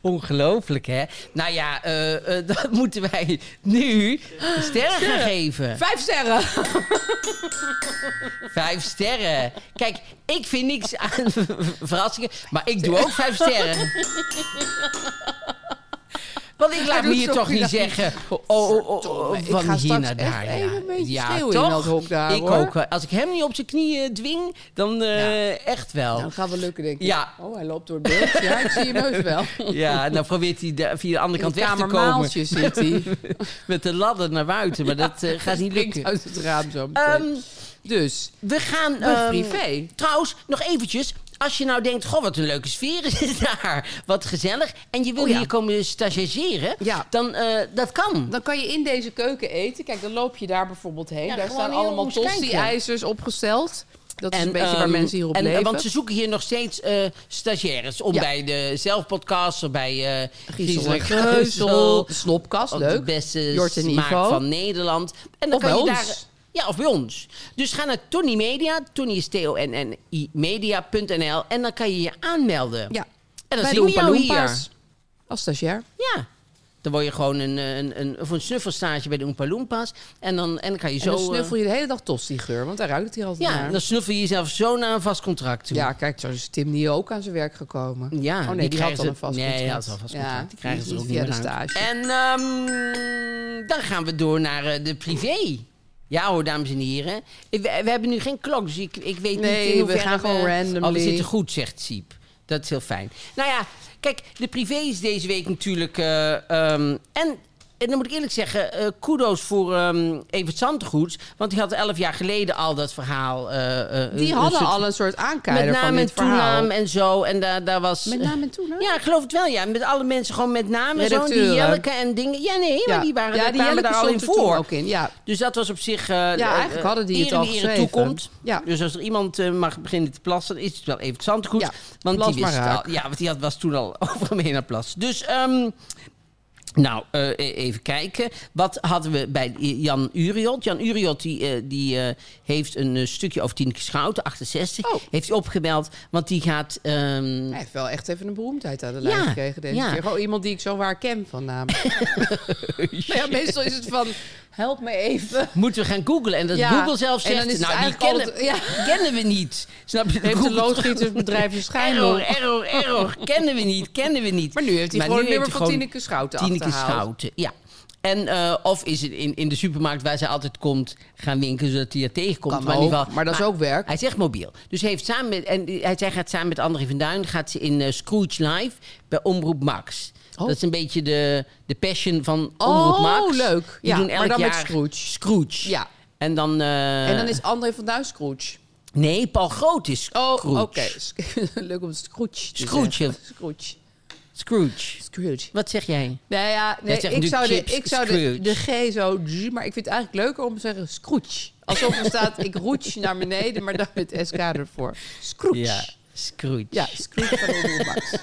Speaker 2: Ongelooflijk, hè? Nou ja, eh, eh, dat moeten wij nu sterren gaan geven.
Speaker 4: Vijf sterren.
Speaker 2: Vijf sterren. Kijk, ik vind niks aan verrassingen, maar ik doe ook vijf sterren. Want ik laat
Speaker 4: doet
Speaker 2: me hier
Speaker 4: zo
Speaker 2: toch niet
Speaker 4: goed.
Speaker 2: zeggen. Oh, oh, oh, oh,
Speaker 4: Ik
Speaker 2: van
Speaker 4: ga
Speaker 2: hier
Speaker 4: straks
Speaker 2: naar
Speaker 4: echt
Speaker 2: daar.
Speaker 4: even een
Speaker 2: ja.
Speaker 4: beetje
Speaker 2: ja,
Speaker 4: schreeuwen in
Speaker 2: toch?
Speaker 4: dat hok daar,
Speaker 2: Ik
Speaker 4: hoor.
Speaker 2: ook. eh, Als ik hem niet op zijn knieën dwing, dan eh, echt wel.
Speaker 4: Nou, dat gaat wel lukken, denk ik.
Speaker 2: Ja.
Speaker 4: Oh, hij loopt door het beeld. Ja, ik zie hem heus wel.
Speaker 2: Ja, en dan probeert hij de- via de andere
Speaker 4: In
Speaker 2: kant
Speaker 4: de
Speaker 2: weg te komen.
Speaker 4: kamermaaltje zit hij.
Speaker 2: Met de ladder naar buiten, maar dat eh, gaat niet
Speaker 4: Springt
Speaker 2: lukken.
Speaker 4: uit het raam zo meteen.
Speaker 2: Ehm,
Speaker 4: dus,
Speaker 2: We gaan...
Speaker 4: Dat is
Speaker 2: ehm,
Speaker 4: privé.
Speaker 2: Trouwens, nog eventjes. Als je nou denkt, goh, wat een leuke sfeer is daar. Wat gezellig. En je wil
Speaker 4: Oh ja.
Speaker 2: hier komen stagiaireren.
Speaker 4: Ja.
Speaker 2: Dan, eh, dat kan.
Speaker 4: dan kan je in deze keuken eten. Kijk, dan loop je daar bijvoorbeeld heen.
Speaker 2: Ja,
Speaker 4: daar
Speaker 2: gewoon
Speaker 4: staan
Speaker 2: heel
Speaker 4: allemaal
Speaker 2: omschenken.
Speaker 4: tosti-ijzers opgesteld. Dat is een beetje waar
Speaker 2: ehm,
Speaker 4: mensen hier op
Speaker 2: en,
Speaker 4: leven.
Speaker 2: Want ze zoeken hier nog steeds eh, stagiaires. Om
Speaker 4: Ja.
Speaker 2: bij de zelfpodcast, of bij eh
Speaker 4: Giesel en
Speaker 2: Griezel en
Speaker 4: Geuzel.
Speaker 2: Geuzel.
Speaker 4: De Snopkast,
Speaker 2: Op
Speaker 4: leuk.
Speaker 2: De beste
Speaker 4: Jort en
Speaker 2: smaak
Speaker 4: Ivo.
Speaker 2: van Nederland. En dan
Speaker 4: Of
Speaker 2: kan
Speaker 4: bij
Speaker 2: je
Speaker 4: ons.
Speaker 2: daar. Ja, of bij ons. Dus ga naar Tony Media. Tony is T-O-N-N-I media.nl. En dan kan je je aanmelden.
Speaker 4: Ja.
Speaker 2: En dan
Speaker 4: Bij
Speaker 2: zien we
Speaker 4: de Oompa
Speaker 2: jou
Speaker 4: Loompas.
Speaker 2: hier.
Speaker 4: Als stagiair.
Speaker 2: Ja. Dan word je gewoon een, eh, een, een, of een snuffelstage bij de Oompa Loompas. En dan, en dan kan je
Speaker 4: En
Speaker 2: zo...
Speaker 4: dan
Speaker 2: eh,
Speaker 4: snuffel je de hele dag tosti-geur, want daar ruikt het hier altijd
Speaker 2: ja,
Speaker 4: naar.
Speaker 2: dan snuffel je jezelf zo naar een vast contract toe.
Speaker 4: Ja, kijk, zo is Tim niet ook aan zijn werk gekomen.
Speaker 2: Ja,
Speaker 4: oh nee,
Speaker 2: die
Speaker 4: die,
Speaker 2: krijgen
Speaker 4: had al
Speaker 2: ze-
Speaker 4: een vast
Speaker 2: nee,
Speaker 4: contract.
Speaker 2: die had al een vast contract. Die krijgen ze er ook
Speaker 4: via
Speaker 2: niet
Speaker 4: de
Speaker 2: meer
Speaker 4: stage.
Speaker 2: En ehm, dan gaan we door naar eh, de privé. Ja hoor, dames en heren. Ik- We, we hebben nu geen klok, dus ik, ik weet
Speaker 4: Nee,
Speaker 2: niet in
Speaker 4: we
Speaker 2: hoeverre
Speaker 4: gaan gewoon randomly.
Speaker 2: Oh, we zitten goed, zegt Siep. Dat is heel fijn. Nou ja, kijk, de privé is deze week natuurlijk... eh, ehm, en, en dan moet ik eerlijk zeggen, eh, kudo's voor ehm Evert Zandgoeds. Want die had elf jaar geleden al dat verhaal... eh, eh, een- een
Speaker 4: Die hadden
Speaker 2: soort-
Speaker 4: al een soort aankijder
Speaker 2: met
Speaker 4: van
Speaker 2: naam
Speaker 4: dit
Speaker 2: en
Speaker 4: verhaal.
Speaker 2: toenaam en zo. En daar, daar was...
Speaker 4: Met naam en toenaam?
Speaker 2: Ja, ik geloof het wel, ja. Met alle mensen gewoon met naam en zo. Die
Speaker 4: Redacteuren.
Speaker 2: Jelleke en dingen. Ja, nee, maar
Speaker 4: Ja.
Speaker 2: die waren
Speaker 4: Ja,
Speaker 2: daar
Speaker 4: die
Speaker 2: kwamen
Speaker 4: Jelleke
Speaker 2: daar al in
Speaker 4: stond er toen
Speaker 2: voor.
Speaker 4: ook in, ja.
Speaker 2: Dus dat was op zich... eh, eh,
Speaker 4: eigenlijk hadden die
Speaker 2: eer
Speaker 4: het
Speaker 2: in
Speaker 4: al
Speaker 2: ere
Speaker 4: geschreven.
Speaker 2: toekomt.
Speaker 4: Ja.
Speaker 2: Dus als er iemand eh, mag beginnen te plassen, dan is het wel even zandgoed.
Speaker 4: Ja,
Speaker 2: want
Speaker 4: plas
Speaker 2: die wist
Speaker 4: maar
Speaker 2: het
Speaker 4: raak.
Speaker 2: al. Ja, want die had, was toen al overal mee naar plas. Dus... ehm, nou, eh, e- even kijken. Wat hadden we bij Jan Uriot? Jan Uriot die, eh, die, eh, heeft een eh, stukje over Tineke Schouten, 68.
Speaker 4: Oh.
Speaker 2: Heeft hij opgebeld, want die gaat... ehm,
Speaker 4: Hij heeft wel echt even een beroemdheid aan de lijn
Speaker 2: Ja,
Speaker 4: gekregen deze
Speaker 2: ja.
Speaker 4: keer. Gewoon iemand die ik zo waar ken van naam. maar ja, meestal is het van, help me even.
Speaker 2: Moeten we gaan googlen? En dat
Speaker 4: Ja,
Speaker 2: Google zelf
Speaker 4: en
Speaker 2: zegt,
Speaker 4: dan is het
Speaker 2: nou, die
Speaker 4: eigenlijk
Speaker 2: kennen,
Speaker 4: altijd- ja.
Speaker 2: kennen we niet. Snap je?
Speaker 4: Heeft
Speaker 2: Google
Speaker 4: een loodgietersbedrijf een
Speaker 2: terug, Error,
Speaker 4: schijnhoor.
Speaker 2: error, error. kennen we niet, kennen we niet.
Speaker 4: Maar nu heeft hij
Speaker 2: Maar
Speaker 4: gewoon
Speaker 2: nu
Speaker 4: het nummer
Speaker 2: heeft
Speaker 4: van
Speaker 2: hij gewoon
Speaker 4: Tineke Schouten
Speaker 2: Tineke
Speaker 4: achterhaald.
Speaker 2: Schouten, ja. En, eh, of is het in, in de supermarkt waar zij altijd komt gaan winkelen, zodat hij er tegenkomt.
Speaker 4: Kan
Speaker 2: in ieder
Speaker 4: ook,
Speaker 2: geval-
Speaker 4: maar dat is ook werk.
Speaker 2: Hij zegt mobiel. Dus hij, heeft samen met, en die- hij, zij gaat samen met André van Duin gaat ze in eh, Scrooge Live bij Omroep Max.
Speaker 4: Oh.
Speaker 2: Dat is een beetje de, de passion van
Speaker 4: Oh,
Speaker 2: Omroep Max.
Speaker 4: leuk.
Speaker 2: Die
Speaker 4: Ja,
Speaker 2: doen
Speaker 4: maar
Speaker 2: elk
Speaker 4: dan met
Speaker 2: jaar
Speaker 4: Scrooge.
Speaker 2: Scrooge.
Speaker 4: Ja.
Speaker 2: En dan... eh,
Speaker 4: En dan is André van Duin Scrooge.
Speaker 2: Nee, Paul Groot is
Speaker 4: Oh,
Speaker 2: Scrooge.
Speaker 4: oké. Leuk om Scrooge te
Speaker 2: Scrooge.
Speaker 4: zeggen. Scrooge.
Speaker 2: Scrooge.
Speaker 4: Scrooge.
Speaker 2: Wat zeg jij?
Speaker 4: Nou ja, nee,
Speaker 2: zegt
Speaker 4: ik
Speaker 2: nu
Speaker 4: zou, de,
Speaker 2: chips,
Speaker 4: ik zou de,
Speaker 2: Scrooge.
Speaker 4: de G zo... dz, Maar ik vind het eigenlijk leuker om te zeggen Scrooge. Alsof er staat, ik roetje naar beneden, maar dan met SK ervoor. Scrooge.
Speaker 2: Ja, Scrooge.
Speaker 4: Ja, Scrooge van Omroep Max.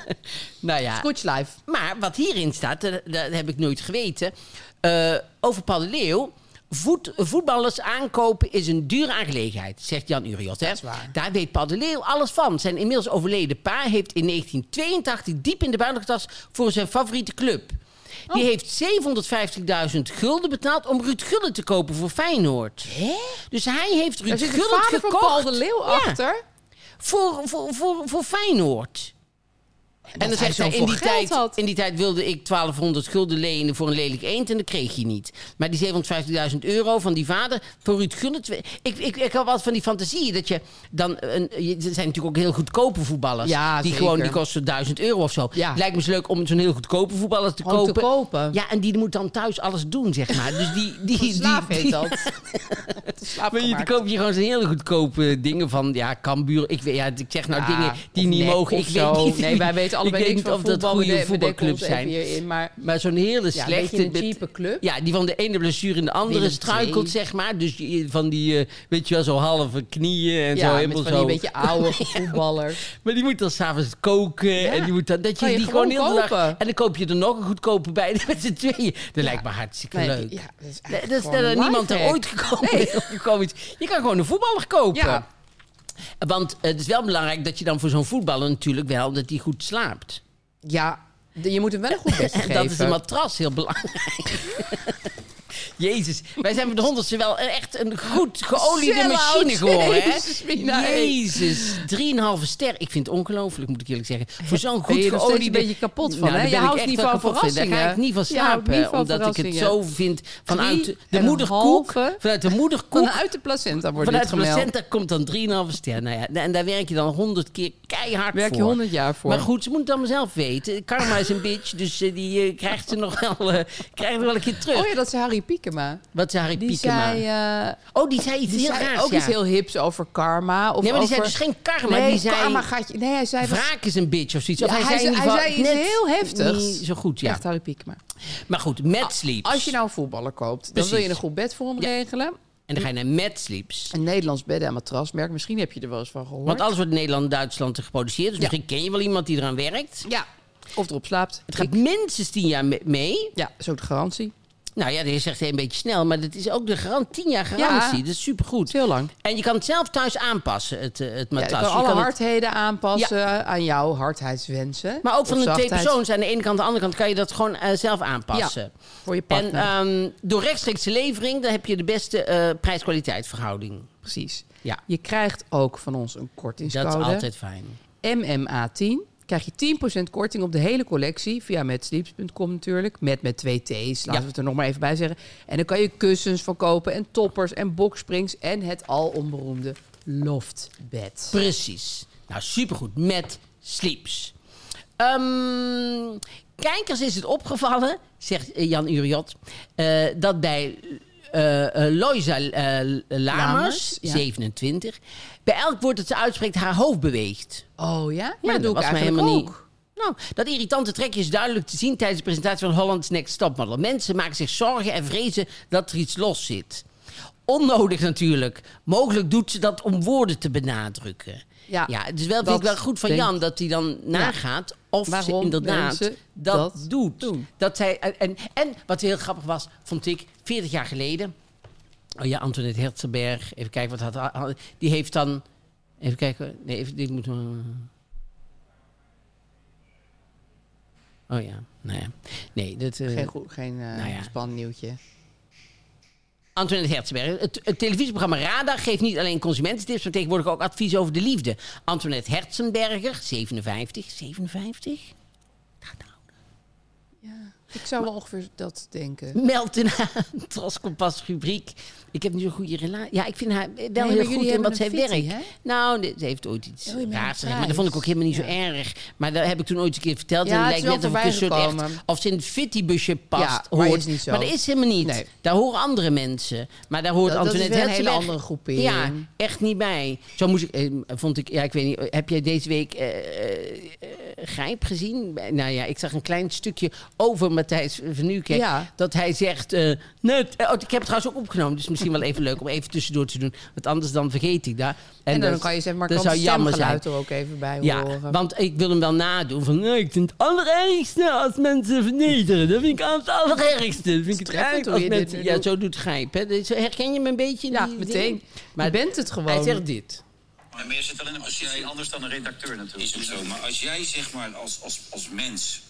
Speaker 2: Nou ja.
Speaker 4: Scrooge live.
Speaker 2: Maar wat hierin staat, dat, dat heb ik nooit geweten. eh, over Paul de Leeuw. Voet, voetballers aankopen is een dure aangelegenheid, zegt Jan Uriot. Hè?
Speaker 4: waar.
Speaker 2: Daar weet Paul de Leeuw alles van. Zijn inmiddels overleden pa heeft in 1982 diep in de buidel getast voor zijn favoriete club. Die
Speaker 4: Oh.
Speaker 2: heeft 750.000 gulden betaald om Ruud Gullit te kopen voor Feyenoord. Dus hij heeft Ruud
Speaker 4: Daar zit de
Speaker 2: Gullit
Speaker 4: vader van
Speaker 2: gekocht.
Speaker 4: Paul de Leeuw
Speaker 2: Ja
Speaker 4: achter.
Speaker 2: voor, voor, voor, voor Feyenoord. En dan
Speaker 4: hij
Speaker 2: zegt hij, in
Speaker 4: zoveel
Speaker 2: die,
Speaker 4: geld
Speaker 2: tijd,
Speaker 4: had.
Speaker 2: in die tijd wilde ik 1200 gulden lenen voor een lelijk eend en dat kreeg je niet. Maar die 750.000 euro van die vader voor Ruud Gullit. Ik, ik, ik had wat van die fantasie dat je dan... Een, je- er zijn natuurlijk ook heel goedkope voetballers.
Speaker 4: Ja,
Speaker 2: die
Speaker 4: zeker.
Speaker 2: gewoon, die kosten 1000 euro of zo.
Speaker 4: Ja.
Speaker 2: Lijkt me zo leuk om zo'n heel goedkope voetballer te
Speaker 4: Gewoon
Speaker 2: kopen.
Speaker 4: te kopen.
Speaker 2: Ja, en die moet dan thuis alles doen, zeg maar. Dus die... die,
Speaker 4: Een
Speaker 2: die,
Speaker 4: slaaf
Speaker 2: die-
Speaker 4: heet dat. Tot slaaf
Speaker 2: maar je dan
Speaker 4: gemaakt.
Speaker 2: koop je gewoon zo'n hele goedkope dingen van, ja, Kambuur. Ik, weet, ja, ik zeg nou
Speaker 4: Ja,
Speaker 2: dingen die
Speaker 4: Ah,
Speaker 2: niet
Speaker 4: of
Speaker 2: mogen.
Speaker 4: nep of
Speaker 2: Ik
Speaker 4: zo.
Speaker 2: weet niet,
Speaker 4: Nee, wij weten allebei
Speaker 2: ik weet
Speaker 4: niks
Speaker 2: niet
Speaker 4: van
Speaker 2: of dat
Speaker 4: voetbal.
Speaker 2: goede
Speaker 4: We de- we denken
Speaker 2: voetbalclubs
Speaker 4: ons even
Speaker 2: zijn.
Speaker 4: hierin, maar-
Speaker 2: Maar zo'n hele
Speaker 4: Ja, een
Speaker 2: slechte...
Speaker 4: beetje een
Speaker 2: met-
Speaker 4: cheape club.
Speaker 2: Ja, die van de ene blessure in de andere
Speaker 4: Willem
Speaker 2: struikelt,
Speaker 4: II.
Speaker 2: zeg maar. Dus je- van die, eh, weet je wel, zo halve knieën en
Speaker 4: Ja,
Speaker 2: zo.
Speaker 4: met
Speaker 2: Helemaal
Speaker 4: van
Speaker 2: zo.
Speaker 4: die beetje oude voetballers.
Speaker 2: Maar die moet dan s'avonds koken. En die moet dan, dat je,
Speaker 4: Kan je
Speaker 2: die gewoon,
Speaker 4: gewoon
Speaker 2: heel de dag...
Speaker 4: kopen.
Speaker 2: En dan koop je er nog een goedkope bij met z'n tweeën. Dat lijkt me hartstikke
Speaker 4: Nee,
Speaker 2: leuk.
Speaker 4: ja, dat is
Speaker 2: dat
Speaker 4: eigenlijk
Speaker 2: is
Speaker 4: gewoon
Speaker 2: dat
Speaker 4: een
Speaker 2: niemand er
Speaker 4: lifehack.
Speaker 2: ooit gekomen is. op gekomen is. Je kan gewoon een voetballer kopen.
Speaker 4: Ja.
Speaker 2: Want eh, het is wel belangrijk dat je dan voor zo'n voetballer natuurlijk wel... dat hij goed slaapt.
Speaker 4: Ja, de- je moet hem wel een goed best
Speaker 2: En
Speaker 4: geven.
Speaker 2: dat is een matras heel belangrijk. Jezus, wij zijn met de honderdste wel echt een goed geoliede
Speaker 4: Sell-out.
Speaker 2: machine geworden, hè?
Speaker 4: Jezus, Mina, hey.
Speaker 2: Jezus, 3,5 ster. Ik vind het ongelooflijk, moet ik eerlijk zeggen. Voor zo'n
Speaker 4: Ben
Speaker 2: goed
Speaker 4: je er nog steeds
Speaker 2: geoliede... Nou,
Speaker 4: een beetje kapot van, hè?
Speaker 2: daar
Speaker 4: Je
Speaker 2: ben ik
Speaker 4: houdt
Speaker 2: echt
Speaker 4: niet
Speaker 2: wel
Speaker 4: van
Speaker 2: kapot van. Daar ga ik
Speaker 4: verrassingen.
Speaker 2: niet van
Speaker 4: Je houdt
Speaker 2: slapen,
Speaker 4: niet van
Speaker 2: omdat ik het zo
Speaker 4: verrassingen.
Speaker 2: vind vanuit de
Speaker 4: en een
Speaker 2: moederkoek.
Speaker 4: halve.
Speaker 2: Vanuit de moederkoek
Speaker 4: Vanuit de placenta wordt
Speaker 2: Vanuit
Speaker 4: dit
Speaker 2: de
Speaker 4: gemeld.
Speaker 2: placenta komt dan 3,5 ster. Nou ja, en daar werk je dan 100 keer keihard
Speaker 4: Werk je
Speaker 2: voor.
Speaker 4: 100 jaar voor.
Speaker 2: Maar goed, ze moet het allemaal zelf weten. Karma is een bitch, dus eh, die eh, krijgt ze nog wel, eh, krijgt er wel een keer terug.
Speaker 4: Oh ja, dat is Harry Piekema.
Speaker 2: Wat zei Harry
Speaker 4: Die
Speaker 2: Piekema?
Speaker 4: zei, eh,
Speaker 2: oh, die zei iets
Speaker 4: die
Speaker 2: heel
Speaker 4: zei
Speaker 2: raars,
Speaker 4: ook
Speaker 2: ja.
Speaker 4: iets heel hips over karma. Of
Speaker 2: Nee, maar die
Speaker 4: over...
Speaker 2: zei dus geen karma.
Speaker 4: Nee,
Speaker 2: die zei,
Speaker 4: karma gaat je... Nee, hij zei...
Speaker 2: wraak is een bitch of zoiets. Of
Speaker 4: Ja,
Speaker 2: hij, zei, in
Speaker 4: hij
Speaker 2: ieder
Speaker 4: zei
Speaker 2: geval
Speaker 4: iets
Speaker 2: net
Speaker 4: heel heftigs.
Speaker 2: niet Zo goed, ja.
Speaker 4: Echt Harry Piekema.
Speaker 2: Maar goed, Mad Sleeps.
Speaker 4: Als je nou een voetballer koopt, dan wil
Speaker 2: Precies.
Speaker 4: je een goed bed voor hem regelen.
Speaker 2: En dan ga je naar Mad Sleeps.
Speaker 4: Een Nederlands bedden- en matrasmerk. Misschien heb je er wel eens van gehoord.
Speaker 2: Want alles wordt in Nederland en Duitsland geproduceerd. Dus misschien ken je wel iemand die eraan werkt.
Speaker 4: Ja. Of erop slaapt.
Speaker 2: Het gaat minstens tien jaar me- mee.
Speaker 4: Ja, zo de garantie.
Speaker 2: Nou ja, dit zegt een beetje snel, maar dat is ook de garant, 10 jaar garantie.
Speaker 4: Ja.
Speaker 2: Dat is supergoed.
Speaker 4: Dat is heel lang.
Speaker 2: En je kan het zelf thuis aanpassen, het, eh, het
Speaker 4: Ja, je
Speaker 2: matras.
Speaker 4: kan
Speaker 2: Je
Speaker 4: alle
Speaker 2: kan het-
Speaker 4: hardheden aanpassen aan jouw hardheidswensen.
Speaker 2: maar ook van
Speaker 4: Of
Speaker 2: een twee
Speaker 4: zachtheid.
Speaker 2: persoons. Aan de ene kant, aan de andere kant kan je dat gewoon eh, zelf aanpassen.
Speaker 4: Ja, voor je
Speaker 2: En
Speaker 4: partner.
Speaker 2: ehm, door rechtstreekse levering, dan heb je de beste eh prijs-kwaliteit verhouding.
Speaker 4: Precies.
Speaker 2: Ja.
Speaker 4: Je krijgt ook van ons een
Speaker 2: Dat
Speaker 4: kortingscode.
Speaker 2: is altijd fijn.
Speaker 4: MMA10. Krijg je 10% korting op de hele collectie via metsleeps.com natuurlijk. Met met twee T's, laten
Speaker 2: Ja.
Speaker 4: we het er nog maar even bij zeggen. En dan kan je kussens van kopen en toppers en boksprings en het al onberoemde loftbed.
Speaker 2: Precies. Nou, supergoed. Met Sleeps. Ehm, kijkers is het opgevallen, zegt eh, Jan Uriot, eh, dat bij eh eh, Loisa eh, Lamers,
Speaker 4: Lamers, ja.
Speaker 2: 27, bij elk woord dat ze uitspreekt haar hoofd beweegt.
Speaker 4: Oh ja? Ja,
Speaker 2: Ja,
Speaker 4: dat doe ik
Speaker 2: was mij
Speaker 4: eigenlijk ook.
Speaker 2: Nou, dat irritante trekje is duidelijk te zien tijdens de presentatie van Holland's Next Topmodel. Mensen maken zich zorgen en vrezen dat er iets los zit. Onnodig natuurlijk. Mogelijk doet ze dat om woorden te benadrukken. Ja,
Speaker 4: Ja,
Speaker 2: het is wel,
Speaker 4: dat
Speaker 2: vind ik wel goed van
Speaker 4: denk-
Speaker 2: Jan dat hij dan nagaat of ze
Speaker 4: Waarom
Speaker 2: inderdaad dat,
Speaker 4: mensen dat
Speaker 2: doet.
Speaker 4: doen.
Speaker 2: Dat zij, en, en wat heel grappig was, vond ik, 40 jaar geleden... Oh ja, Antoinette Hertzberg. Even kijken, wat had, had- die heeft dan... Even kijken, nee, even, dit moet... Oh ja, nou ja. Nee, dat... eh,
Speaker 4: Geen, goed- geen eh,
Speaker 2: Nou ja.
Speaker 4: spannieuwtje.
Speaker 2: Antoinette Hertzberg. Het, het televisieprogramma Radar geeft niet alleen consumententips, maar tegenwoordig ook advies over de liefde. Antoinette Herzenberger, 57. 57? nou.
Speaker 4: Ik zou wel ongeveer dat denken.
Speaker 2: Meld in haar Troskompas rubriek. Ik heb nu zo'n goede relatie. Ja, ik vind haar wel
Speaker 4: maar
Speaker 2: heel
Speaker 4: jullie
Speaker 2: goed in
Speaker 4: hebben
Speaker 2: wat zij
Speaker 4: een fitty,
Speaker 2: werkt.
Speaker 4: hè?
Speaker 2: Nou, nee, ze heeft ooit iets
Speaker 4: Oh, je bent
Speaker 2: raars gezegd. Maar
Speaker 4: thuis.
Speaker 2: dat vond ik ook helemaal niet zo
Speaker 4: Ja.
Speaker 2: erg. Maar dat heb ik toen ooit een keer verteld.
Speaker 4: Ja,
Speaker 2: en het
Speaker 4: het
Speaker 2: lijkt
Speaker 4: is
Speaker 2: net
Speaker 4: wel
Speaker 2: of ik een soort
Speaker 4: voorbij
Speaker 2: echt...
Speaker 4: gekomen.
Speaker 2: Of ze in het fittybusje past,
Speaker 4: Ja, maar
Speaker 2: hoort.
Speaker 4: is niet zo.
Speaker 2: Maar dat is helemaal niet.
Speaker 4: Nee.
Speaker 2: Daar horen andere mensen. Maar daar hoort
Speaker 4: Dat- dat is
Speaker 2: Antoinette
Speaker 4: weer een hele
Speaker 2: Hertzberg-
Speaker 4: andere groepering.
Speaker 2: Ja, echt niet bij. Zo moest ik... eh, vond ik... Ja, ik weet niet. Heb jij deze week... eh, Grijp gezien? Nou ja, ik zag een klein stukje over Matthijs van Nieuwkerk.
Speaker 4: Ja.
Speaker 2: Dat hij zegt... eh, net, eh, oh, ik heb het trouwens ook opgenomen, dus misschien wel even leuk om even tussendoor te doen. Want anders dan vergeet ik dat.
Speaker 4: En, dan,
Speaker 2: dat-
Speaker 4: kan je zeg maar
Speaker 2: dat
Speaker 4: kan
Speaker 2: zou jammer zijn.
Speaker 4: stemgeluid er ook even bij
Speaker 2: Ja,
Speaker 4: horen.
Speaker 2: want ik wil hem wel nadoen van... nee, ik vind het allerergste als mensen vernederen. Dat vind ik het allerergste. Dat vind ik het
Speaker 4: Treffend
Speaker 2: erg
Speaker 4: hoe
Speaker 2: als
Speaker 4: je dit
Speaker 2: mensen...
Speaker 4: nu
Speaker 2: Ja,
Speaker 4: doet.
Speaker 2: zo doet Gijp. Hè? Dus Herken je hem een beetje?
Speaker 4: ja,
Speaker 2: die-
Speaker 4: meteen.
Speaker 2: die-
Speaker 4: je bent het gewoon.
Speaker 2: Hij zegt dit.
Speaker 10: Maar je zit wel in een positie anders dan een redacteur natuurlijk.
Speaker 7: Is ook zo. Maar als jij zeg maar als, als, als mens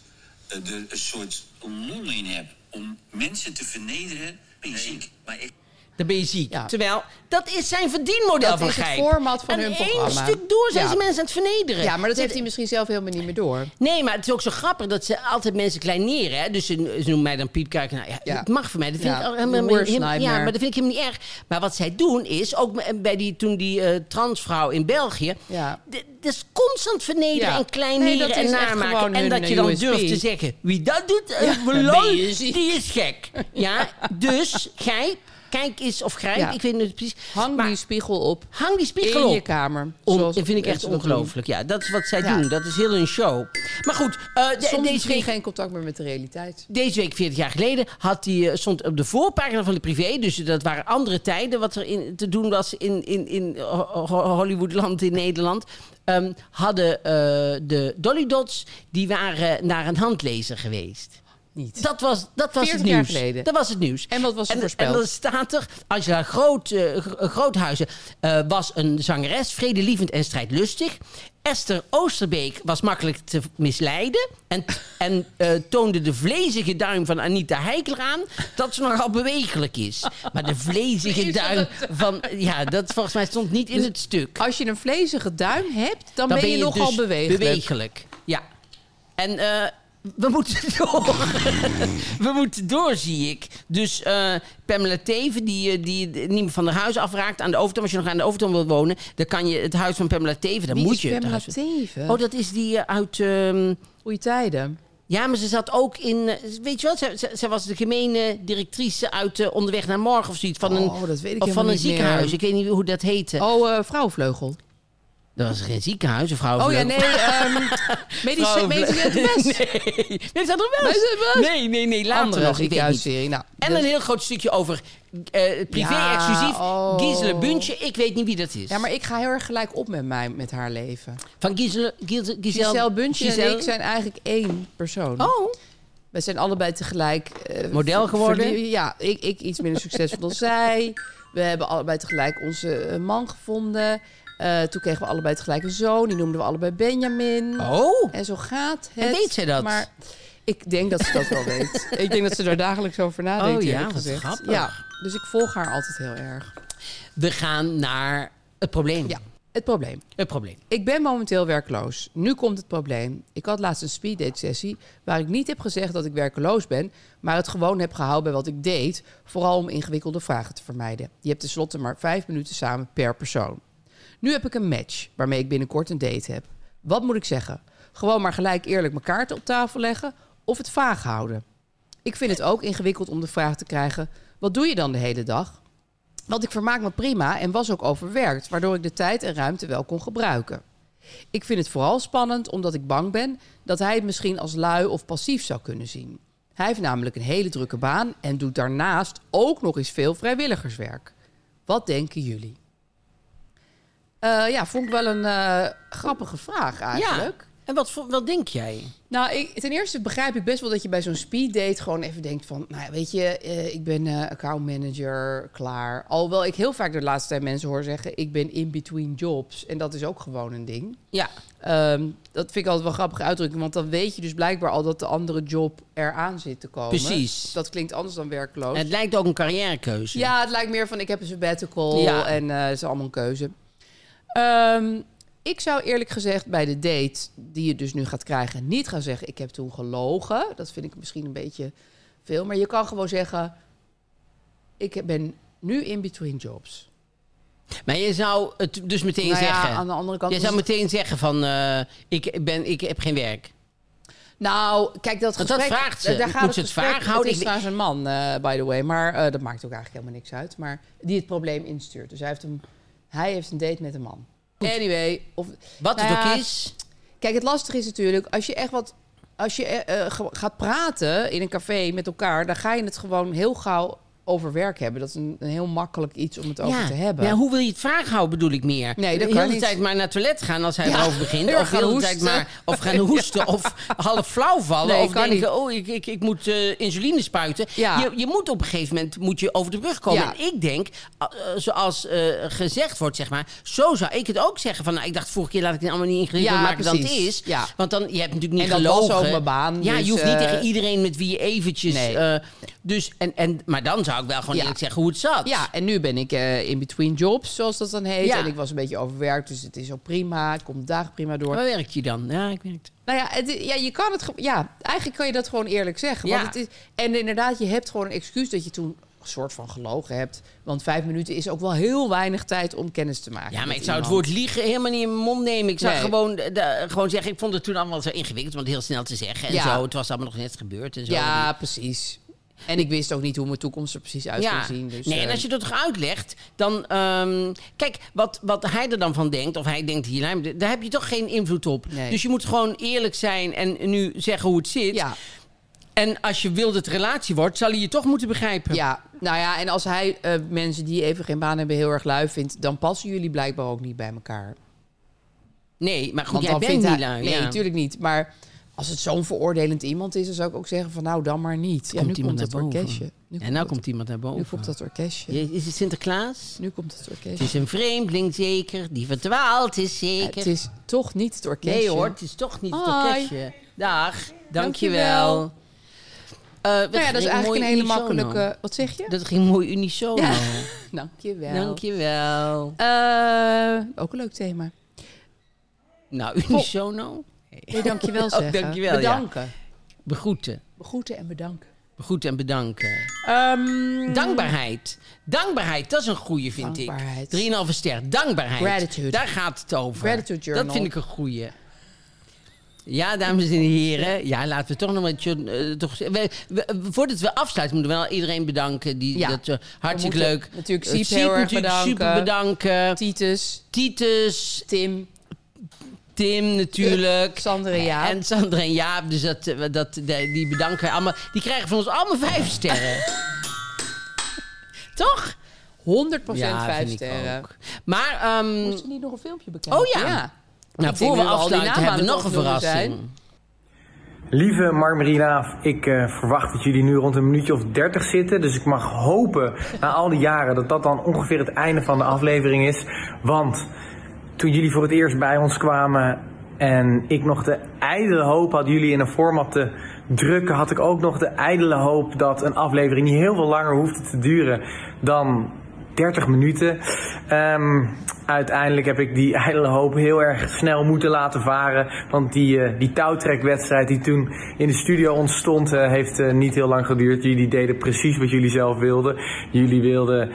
Speaker 7: eh, er een soort non in hebt om mensen te vernederen, ben je ziek. Maar ik...
Speaker 2: Dan ben je ziek.
Speaker 4: Ja.
Speaker 2: Terwijl, dat is zijn verdienmodel
Speaker 4: Dat
Speaker 2: van
Speaker 4: is het
Speaker 2: Gijp.
Speaker 4: format van
Speaker 2: en
Speaker 4: hun
Speaker 2: één
Speaker 4: programma.
Speaker 2: stuk door zijn
Speaker 4: Ja.
Speaker 2: ze mensen aan het vernederen.
Speaker 4: Ja, maar dat heeft hij misschien zelf helemaal niet meer door.
Speaker 2: Nee, maar het is ook zo grappig dat ze altijd mensen kleineren. Hè? Dus ze, ze noemen mij dan piepkuik. Nou, ja,
Speaker 4: Ja.
Speaker 2: Het mag voor mij. Dat vind
Speaker 4: Ja,
Speaker 2: ik al
Speaker 4: the
Speaker 2: helemaal,
Speaker 4: worst
Speaker 2: helemaal- ja,
Speaker 4: nightmare.
Speaker 2: maar dat vind ik helemaal niet erg. Maar wat zij doen is, ook me- bij die, toen die eh, transvrouw in België...
Speaker 4: Ja.
Speaker 2: d- Dat is constant vernederen
Speaker 4: Ja.
Speaker 2: en kleineren
Speaker 4: Nee, dat
Speaker 2: en
Speaker 4: is echt
Speaker 2: namaken.
Speaker 4: gewoon
Speaker 2: En
Speaker 4: hun,
Speaker 2: dat je
Speaker 4: eh,
Speaker 2: dan
Speaker 4: USP.
Speaker 2: durft te zeggen... Wie dat doet, eh,
Speaker 4: Ja,
Speaker 2: voor
Speaker 4: dan ben
Speaker 2: lol,
Speaker 4: je ziek.
Speaker 2: die is gek. Ja, dus gij... Kijk eens of grijp,
Speaker 4: Ja.
Speaker 2: ik weet niet precies.
Speaker 4: Hang
Speaker 2: maar
Speaker 4: die spiegel op.
Speaker 2: hang die spiegel
Speaker 4: in
Speaker 2: op.
Speaker 4: je kamer.
Speaker 2: Om,
Speaker 4: zoals
Speaker 2: dat vind ik echt
Speaker 4: mensen dat doen.
Speaker 2: ongelooflijk. Ja, dat is wat zij
Speaker 4: Ja.
Speaker 2: doen. Dat is heel een show. Maar goed, eh, de-
Speaker 4: Soms
Speaker 2: deze,
Speaker 4: misschien
Speaker 2: week,
Speaker 4: geen contact meer met de realiteit.
Speaker 2: deze week, 40 jaar geleden, had die, eh, stond op de voorpagina van de privé. Dus dat waren andere tijden wat er in, te doen was in, in, in Ho- Ho- Hollywoodland in Nederland. Ehm, hadden eh, de Dolly Dots, die waren naar een handlezer geweest.
Speaker 4: niet.
Speaker 2: Dat was, dat was het
Speaker 4: 40 jaar
Speaker 2: nieuws.
Speaker 4: geleden.
Speaker 2: Dat was het nieuws.
Speaker 4: En wat was er
Speaker 2: en,
Speaker 4: voorspeld?
Speaker 2: En dan staat er, Angela Groot, eh, Gro- Groothuizen eh, was een zangeres, vredelievend en strijdlustig. Esther Oosterbeek was makkelijk te misleiden. En, en eh, toonde de vlezige duim van Anita Heikler aan dat ze nogal bewegelijk is. Maar de vlezige
Speaker 4: Vlezige
Speaker 2: duim van. Ja, dat volgens mij stond niet in
Speaker 4: Dus
Speaker 2: het stuk.
Speaker 4: Als je een vlezige duim hebt, dan, ben, je, nogal
Speaker 2: dus
Speaker 4: bewegelijk.
Speaker 2: Bewegelijk, ja. En eh, we moeten door.
Speaker 4: Hmm.
Speaker 2: we moeten door, zie ik. Dus eh, Pamela Teven, die, eh, die niemand van haar huis afraakt aan de Overtoom. Als je nog aan de Overtoom wilt wonen, dan kan je het huis van Pamela Teven. Dan
Speaker 4: Wie
Speaker 2: moet
Speaker 4: is
Speaker 2: je het
Speaker 4: Pamela
Speaker 2: huis van-
Speaker 4: Teven?
Speaker 2: Oh, dat is die eh, uit... ehm,
Speaker 4: Goeie tijden.
Speaker 2: ja, maar ze zat ook in... eh, weet je wel, ze, ze, ze was de gemene directrice uit eh, Onderweg naar Morgen of zoiets. Van een,
Speaker 4: Oh, dat weet ik
Speaker 2: of van
Speaker 4: helemaal
Speaker 2: een
Speaker 4: niet meer.
Speaker 2: ziekenhuis. Ik weet niet hoe dat heette.
Speaker 4: Oh, eh, vrouwvleugel.
Speaker 2: Dat was geen ziekenhuis, een vrouw.
Speaker 4: Oh ja, nee. ehm medici-
Speaker 2: Vrouw-
Speaker 4: medici uit de West.
Speaker 2: Nee, nee, staat er wel.
Speaker 4: Bij de West.
Speaker 2: Nee, nee, nee, later
Speaker 4: Andere
Speaker 2: nog. Ik weet niet.
Speaker 4: ziekenhuisserie. Nou,
Speaker 2: En
Speaker 4: dat-
Speaker 2: een heel groot stukje over eh, privé-exclusief.
Speaker 4: Ja, oh.
Speaker 2: Gisele Buntje, ik weet niet wie dat is.
Speaker 4: Ja, maar ik ga heel erg gelijk op met, mij, met haar leven.
Speaker 2: Van Gisele, Gisele, Giselle,
Speaker 4: Giselle Buntje
Speaker 2: Giselle-
Speaker 4: en ik zijn eigenlijk één persoon.
Speaker 2: Oh,
Speaker 4: We zijn allebei tegelijk... eh,
Speaker 2: Model
Speaker 4: ver-
Speaker 2: geworden?
Speaker 4: verlie- Ja, ik, ik iets minder succesvol dan zij. We hebben allebei tegelijk onze eh, man gevonden. Eh, toen kregen we allebei tegelijk een zoon. Die noemden we allebei Benjamin.
Speaker 2: oh.
Speaker 4: En zo gaat het.
Speaker 2: En weet zij dat?
Speaker 4: Maar ik denk dat ze dat wel weet. Ik denk dat ze daar dagelijks over nadenkt.
Speaker 2: Oh ja,
Speaker 4: eerlijk
Speaker 2: wat
Speaker 4: gezegd.
Speaker 2: grappig.
Speaker 4: Ja, dus ik volg haar altijd heel erg.
Speaker 2: we gaan naar het probleem.
Speaker 4: Ja, het probleem.
Speaker 2: Het probleem.
Speaker 4: Ik ben momenteel werkloos. Nu komt het probleem. Ik had laatst een speeddate sessie waar ik niet heb gezegd dat ik werkloos ben, maar het gewoon heb gehouden bij wat ik deed, vooral om ingewikkelde vragen te vermijden. Je hebt tenslotte maar vijf minuten samen per persoon. Nu heb ik een match waarmee ik binnenkort een date heb. Wat moet ik zeggen? Gewoon maar gelijk eerlijk mijn kaarten op tafel leggen of het vaag houden? Ik vind het ook ingewikkeld om de vraag te krijgen: wat doe je dan de hele dag? Want ik vermaak me prima en was ook overwerkt, waardoor ik de tijd en ruimte wel kon gebruiken. Ik vind het vooral spannend omdat ik bang ben dat hij het misschien als lui of passief zou kunnen zien. Hij heeft namelijk een hele drukke baan en doet daarnaast ook nog eens veel vrijwilligerswerk. Wat denken jullie? Eh, ja, vond ik wel een eh, grappige vraag eigenlijk.
Speaker 2: Ja. En wat, voor- wat denk jij?
Speaker 4: Nou, ik, ten eerste begrijp ik best wel dat je bij zo'n speeddate gewoon even denkt van... Nou, ja, weet je, eh, ik ben eh account manager, klaar. Alhoewel ik heel vaak de laatste tijd mensen hoor zeggen... ik ben in between jobs. En dat is ook gewoon een ding.
Speaker 2: Ja.
Speaker 4: Ehm, dat vind ik altijd wel een grappige uitdrukking. Want dan weet je dus blijkbaar al dat de andere job eraan zit te komen.
Speaker 2: Precies.
Speaker 4: Dat klinkt anders dan werkloos.
Speaker 2: Het lijkt ook een carrièrekeuze.
Speaker 4: Ja, het lijkt meer van ik heb een sabbatical
Speaker 2: Ja.
Speaker 4: en eh, het is allemaal een keuze. Ehm, ik zou eerlijk gezegd bij de date die je dus nu gaat krijgen niet gaan zeggen ik heb toen gelogen. Dat vind ik misschien een beetje veel. Maar je kan gewoon zeggen ik ben nu in between jobs.
Speaker 2: Maar je zou het dus meteen
Speaker 4: Nou ja,
Speaker 2: zeggen.
Speaker 4: aan de andere kant
Speaker 2: Je
Speaker 4: is
Speaker 2: zou
Speaker 4: het-
Speaker 2: meteen zeggen van, eh, ik, ben, ik heb geen werk.
Speaker 4: Nou, kijk, dat
Speaker 2: Want
Speaker 4: gesprek...
Speaker 2: dat vraagt ze.
Speaker 4: Daar
Speaker 2: Moet
Speaker 4: gaat
Speaker 2: ze het
Speaker 4: gesprek-
Speaker 2: vaag houden?
Speaker 4: Het is
Speaker 2: Ik-
Speaker 4: trouwens een man, eh, by the way. Maar eh, dat maakt ook eigenlijk helemaal niks uit. Maar die het probleem instuurt. Dus hij heeft een, hij heeft een date met een man. Anyway. Of,
Speaker 2: Wat
Speaker 4: Nou
Speaker 2: het
Speaker 4: ja,
Speaker 2: ook is.
Speaker 4: Kijk, het lastige is natuurlijk, als je echt wat. Als je eh, eh, ge- gaat praten in een café met elkaar, dan ga je het gewoon heel gauw over werk hebben. Dat is een, een heel makkelijk iets om het over te hebben.
Speaker 2: Ja, hoe wil je het vraag houden, bedoel ik meer?
Speaker 4: Nee, dat
Speaker 2: de
Speaker 4: kan
Speaker 2: hele
Speaker 4: niet.
Speaker 2: tijd maar naar het toilet gaan als hij
Speaker 4: Ja,
Speaker 2: erover begint.
Speaker 4: heel
Speaker 2: Of de
Speaker 4: gaan
Speaker 2: hele tijd
Speaker 4: hoesten.
Speaker 2: maar of gaan hoesten. Of half flauw vallen.
Speaker 4: Nee,
Speaker 2: of
Speaker 4: kan
Speaker 2: denken, oh, ik, ik, ik moet eh, insuline spuiten.
Speaker 4: Ja.
Speaker 2: Je, je moet op een gegeven moment moet je over de brug komen.
Speaker 4: Ja.
Speaker 2: En ik denk, a- eh, zoals eh, gezegd wordt, zeg maar, zo zou ik het ook zeggen. Van, nou, ik dacht vorige keer laat ik het allemaal niet ingewikkeld
Speaker 4: Ja,
Speaker 2: maken dan het
Speaker 4: precies.
Speaker 2: is.
Speaker 4: Ja.
Speaker 2: Want dan, je hebt natuurlijk niet
Speaker 4: En dat was
Speaker 2: gelogen.
Speaker 4: ook mijn baan,
Speaker 2: Ja,
Speaker 4: dus,
Speaker 2: je hoeft niet
Speaker 4: eh,
Speaker 2: tegen iedereen met wie je eventjes...
Speaker 4: Nee.
Speaker 2: eh, dus, en, en, maar dan zou ik wel gewoon
Speaker 4: Ja.
Speaker 2: eerlijk zeggen hoe het zat.
Speaker 4: Ja, en nu ben ik eh, in between jobs, zoals dat dan heet.
Speaker 2: Ja.
Speaker 4: En ik was een beetje overwerkt, dus het is al prima. Ik kom de dagen prima door.
Speaker 2: Waar werkt je dan? Ja, ik werkte.
Speaker 4: Nou ja, het, ja, je kan het, ge- ja, eigenlijk kan je dat gewoon eerlijk zeggen.
Speaker 2: Ja.
Speaker 4: Want het is, en inderdaad, je hebt gewoon een excuus dat je toen een soort van gelogen hebt. Want vijf minuten is ook wel heel weinig tijd om kennis te maken.
Speaker 2: Ja, maar
Speaker 4: met
Speaker 2: ik zou het
Speaker 4: iemand.
Speaker 2: woord liegen helemaal niet in mijn mond nemen. Ik zou
Speaker 4: Nee.
Speaker 2: gewoon, eh, da- gewoon zeggen, ik vond het toen allemaal zo ingewikkeld om het heel snel te zeggen. En
Speaker 4: Ja.
Speaker 2: zo, het was allemaal nog net gebeurd en zo.
Speaker 4: Ja, precies. En ik wist ook niet hoe mijn toekomst er precies uit
Speaker 2: Ja.
Speaker 4: zou zien. Dus,
Speaker 2: nee,
Speaker 4: eh,
Speaker 2: en als je dat toch uitlegt, dan... ehm, kijk, wat, wat hij er dan van denkt, of hij denkt hier, daar heb je toch geen invloed op.
Speaker 4: Nee.
Speaker 2: Dus je moet gewoon eerlijk zijn en nu zeggen hoe het zit.
Speaker 4: ja,
Speaker 2: En als je wil dat het relatie wordt, zal hij je toch moeten begrijpen.
Speaker 4: ja, nou ja, en als hij eh, mensen die even geen baan hebben heel erg lui vindt... dan passen jullie blijkbaar ook niet bij elkaar.
Speaker 2: Nee, maar goed,
Speaker 4: Want
Speaker 2: jij
Speaker 4: dan
Speaker 2: bent
Speaker 4: vindt
Speaker 2: niet
Speaker 4: hij-
Speaker 2: lui.
Speaker 4: Nee,
Speaker 2: ja.
Speaker 4: natuurlijk niet. Maar Als het zo'n veroordelend iemand is, dan zou ik ook zeggen van nou dan maar niet. Ja, nu komt het orkestje. Nu
Speaker 2: en nou komt iemand naar boven.
Speaker 4: Nu komt dat orkestje.
Speaker 2: Je- Is het Sinterklaas?
Speaker 4: Nu komt het orkestje.
Speaker 2: Het is een vreemdeling zeker, die verdwaald is zeker.
Speaker 4: Het is toch niet het orkestje.
Speaker 2: nee hoor, het is toch niet het
Speaker 4: Hoi.
Speaker 2: orkestje. Dag, dankjewel.
Speaker 4: Dankjewel.
Speaker 2: Eh nou
Speaker 4: Nou ja, dat is eigenlijk een hele makkelijke... Wat zeg je?
Speaker 2: Dat ging mooi unisono.
Speaker 4: Ja. Dankjewel.
Speaker 2: Dankjewel.
Speaker 4: Eh, ook een leuk thema.
Speaker 2: Nou, unisono.
Speaker 4: Nee, dankjewel
Speaker 2: Oh,
Speaker 4: zeggen.
Speaker 2: dankjewel, ja.
Speaker 4: Bedanken.
Speaker 2: Begroeten.
Speaker 4: Begroeten en bedanken.
Speaker 2: Begroeten en bedanken.
Speaker 4: Ehm,
Speaker 2: Dankbaarheid. Dankbaarheid, dat is een goeie, vind
Speaker 4: Dankbaarheid.
Speaker 2: ik. 3,5 ster. Dankbaarheid.
Speaker 4: Gratitude.
Speaker 2: Daar gaat het over.
Speaker 4: Gratitude journal.
Speaker 2: Dat vind ik een goeie. Ja, dames en heren. Ja, laten we toch nog wat... jour- eh, toch, we, we- voordat we afsluiten, moeten we wel iedereen bedanken. Die,
Speaker 4: Ja.
Speaker 2: dat, eh, hartstikke
Speaker 4: We moeten
Speaker 2: leuk.
Speaker 4: natuurlijk
Speaker 2: Eh,
Speaker 4: Siep
Speaker 2: Siep
Speaker 4: heel erg
Speaker 2: natuurlijk super bedanken.
Speaker 4: Titus,
Speaker 2: Titus,
Speaker 4: Tim,
Speaker 2: Tim natuurlijk.
Speaker 4: Sander Eh, en Jaap.
Speaker 2: En Sander en Jaap. Dus dat, eh, dat, de- die bedanken wij allemaal. Die krijgen van ons allemaal vijf sterren. Toch?
Speaker 4: 100%
Speaker 2: Ja,
Speaker 4: vijf
Speaker 2: vind ik
Speaker 4: sterren.
Speaker 2: ook. Maar, ehm,
Speaker 4: Moest er niet nog een filmpje bekijken?
Speaker 2: Oh ja. nou,
Speaker 4: Ik denk
Speaker 2: voor we
Speaker 4: dat al die
Speaker 2: afsluiten
Speaker 4: namen
Speaker 2: hebben we
Speaker 4: aan
Speaker 2: nog een
Speaker 4: het opnoemen
Speaker 2: verrassing.
Speaker 4: zijn.
Speaker 6: Lieve Mark Marinaaf, ik eh, verwacht dat jullie nu rond een minuutje of 30 zitten. Dus ik mag hopen na al die jaren dat dat dan ongeveer het einde van de aflevering is. Want toen jullie voor het eerst bij ons kwamen en ik nog de ijdele hoop had jullie in een format te drukken, had ik ook nog de ijdele hoop dat een aflevering niet heel veel langer hoeft te duren dan 30 minuten. Ehm, uiteindelijk heb ik die ijdele hoop heel erg snel moeten laten varen. Want die, eh, die touwtrekwedstrijd die toen in de studio ontstond, eh, heeft eh, niet heel lang geduurd. Jullie deden precies wat jullie zelf wilden. Jullie wilden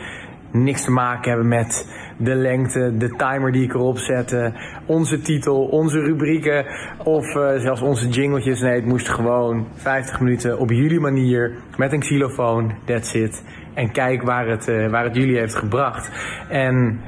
Speaker 6: niks te maken hebben met de lengte, de timer die ik erop zette, onze titel, onze rubrieken of eh, zelfs onze jingletjes. Nee, het moest gewoon 50 minuten op jullie manier met een xylofoon. That's it. En kijk waar het, eh, waar het jullie heeft gebracht. En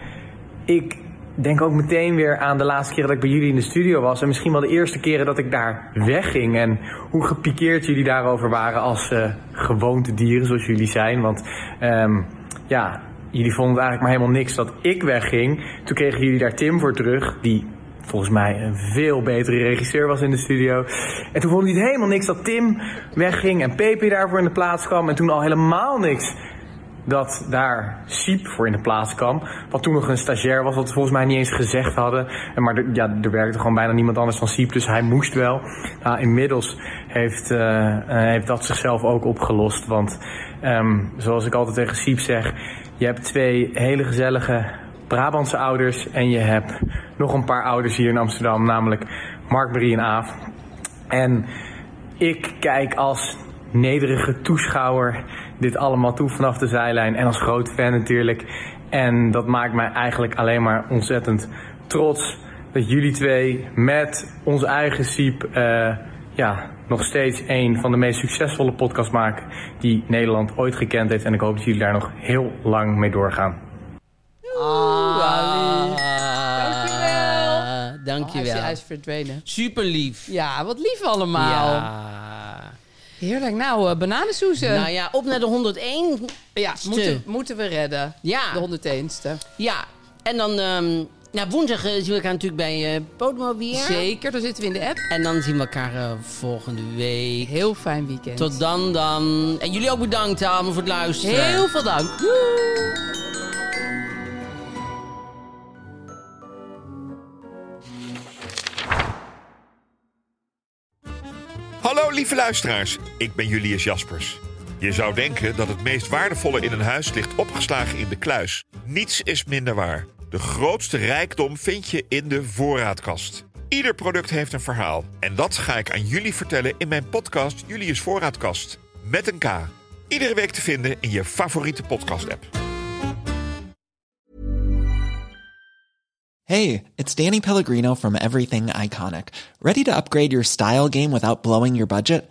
Speaker 6: ik denk ook meteen weer aan de laatste keer dat ik bij jullie in de studio was. En misschien wel de eerste keren dat ik daar wegging. En hoe gepikeerd jullie daarover waren als eh gewoonte dieren zoals jullie zijn. Want ehm, ja, jullie vonden het eigenlijk maar helemaal niks dat ik wegging. Toen kregen jullie daar Tim voor terug, die volgens mij een veel betere regisseur was in de studio. En toen vond hij het helemaal niks dat Tim wegging en Pepe daarvoor in de plaats kwam. En toen al helemaal niks dat daar Siep voor in de plaats kwam. Wat toen nog een stagiair was, wat we volgens mij niet eens gezegd hadden. En Maar er- ja, er werkte gewoon bijna niemand anders dan Siep, dus hij moest wel. Nou, inmiddels heeft, eh, eh, heeft dat zichzelf ook opgelost. Want ehm, zoals ik altijd tegen Siep zeg, je hebt twee hele gezellige Brabantse ouders en je hebt nog een paar ouders hier in Amsterdam, namelijk Mark, Marie en Aaf. En ik kijk als nederige toeschouwer dit allemaal toe vanaf de zijlijn en als groot fan natuurlijk. En dat maakt mij eigenlijk alleen maar ontzettend trots dat jullie twee met onze eigen Siep eh, ja, nog steeds een van de meest succesvolle podcasts maken die Nederland ooit gekend heeft. En ik hoop dat jullie daar nog heel lang mee doorgaan.
Speaker 2: Dankjewel.
Speaker 4: Hij Ah, is-
Speaker 2: Eh, Dankjewel.
Speaker 4: Hij is verdwenen.
Speaker 2: Super lief.
Speaker 4: Ja, wat lief allemaal.
Speaker 2: Ja.
Speaker 4: Heerlijk. Nou, eh bananensoezen.
Speaker 2: Nou ja, op naar de 101.
Speaker 4: ja, moeten, moeten we redden.
Speaker 2: Ja.
Speaker 4: De 101ste.
Speaker 2: Ja. En dan... ehm nou, woensdag eh, zien we elkaar natuurlijk bij eh Podmo weer.
Speaker 4: Zeker, daar zitten we in de app.
Speaker 2: En dan zien we elkaar eh, volgende week.
Speaker 4: Heel fijn weekend.
Speaker 2: Tot dan dan. En jullie ook bedankt allemaal voor het luisteren.
Speaker 4: Heel veel dank. Doei.
Speaker 5: Hallo lieve luisteraars, ik ben Julius Jaspers. Je zou denken dat het meest waardevolle in een huis ligt opgeslagen in de kluis. Niets is minder waar. De grootste rijkdom vind je in de voorraadkast. Ieder product heeft een verhaal. En dat ga ik aan jullie vertellen in mijn podcast Julius Voorraadkast. Met een K. Iedere week te vinden in je favoriete podcast-app.
Speaker 11: Hey, it's Danny Pellegrino from Everything Iconic. Ready to upgrade your style game without blowing your budget?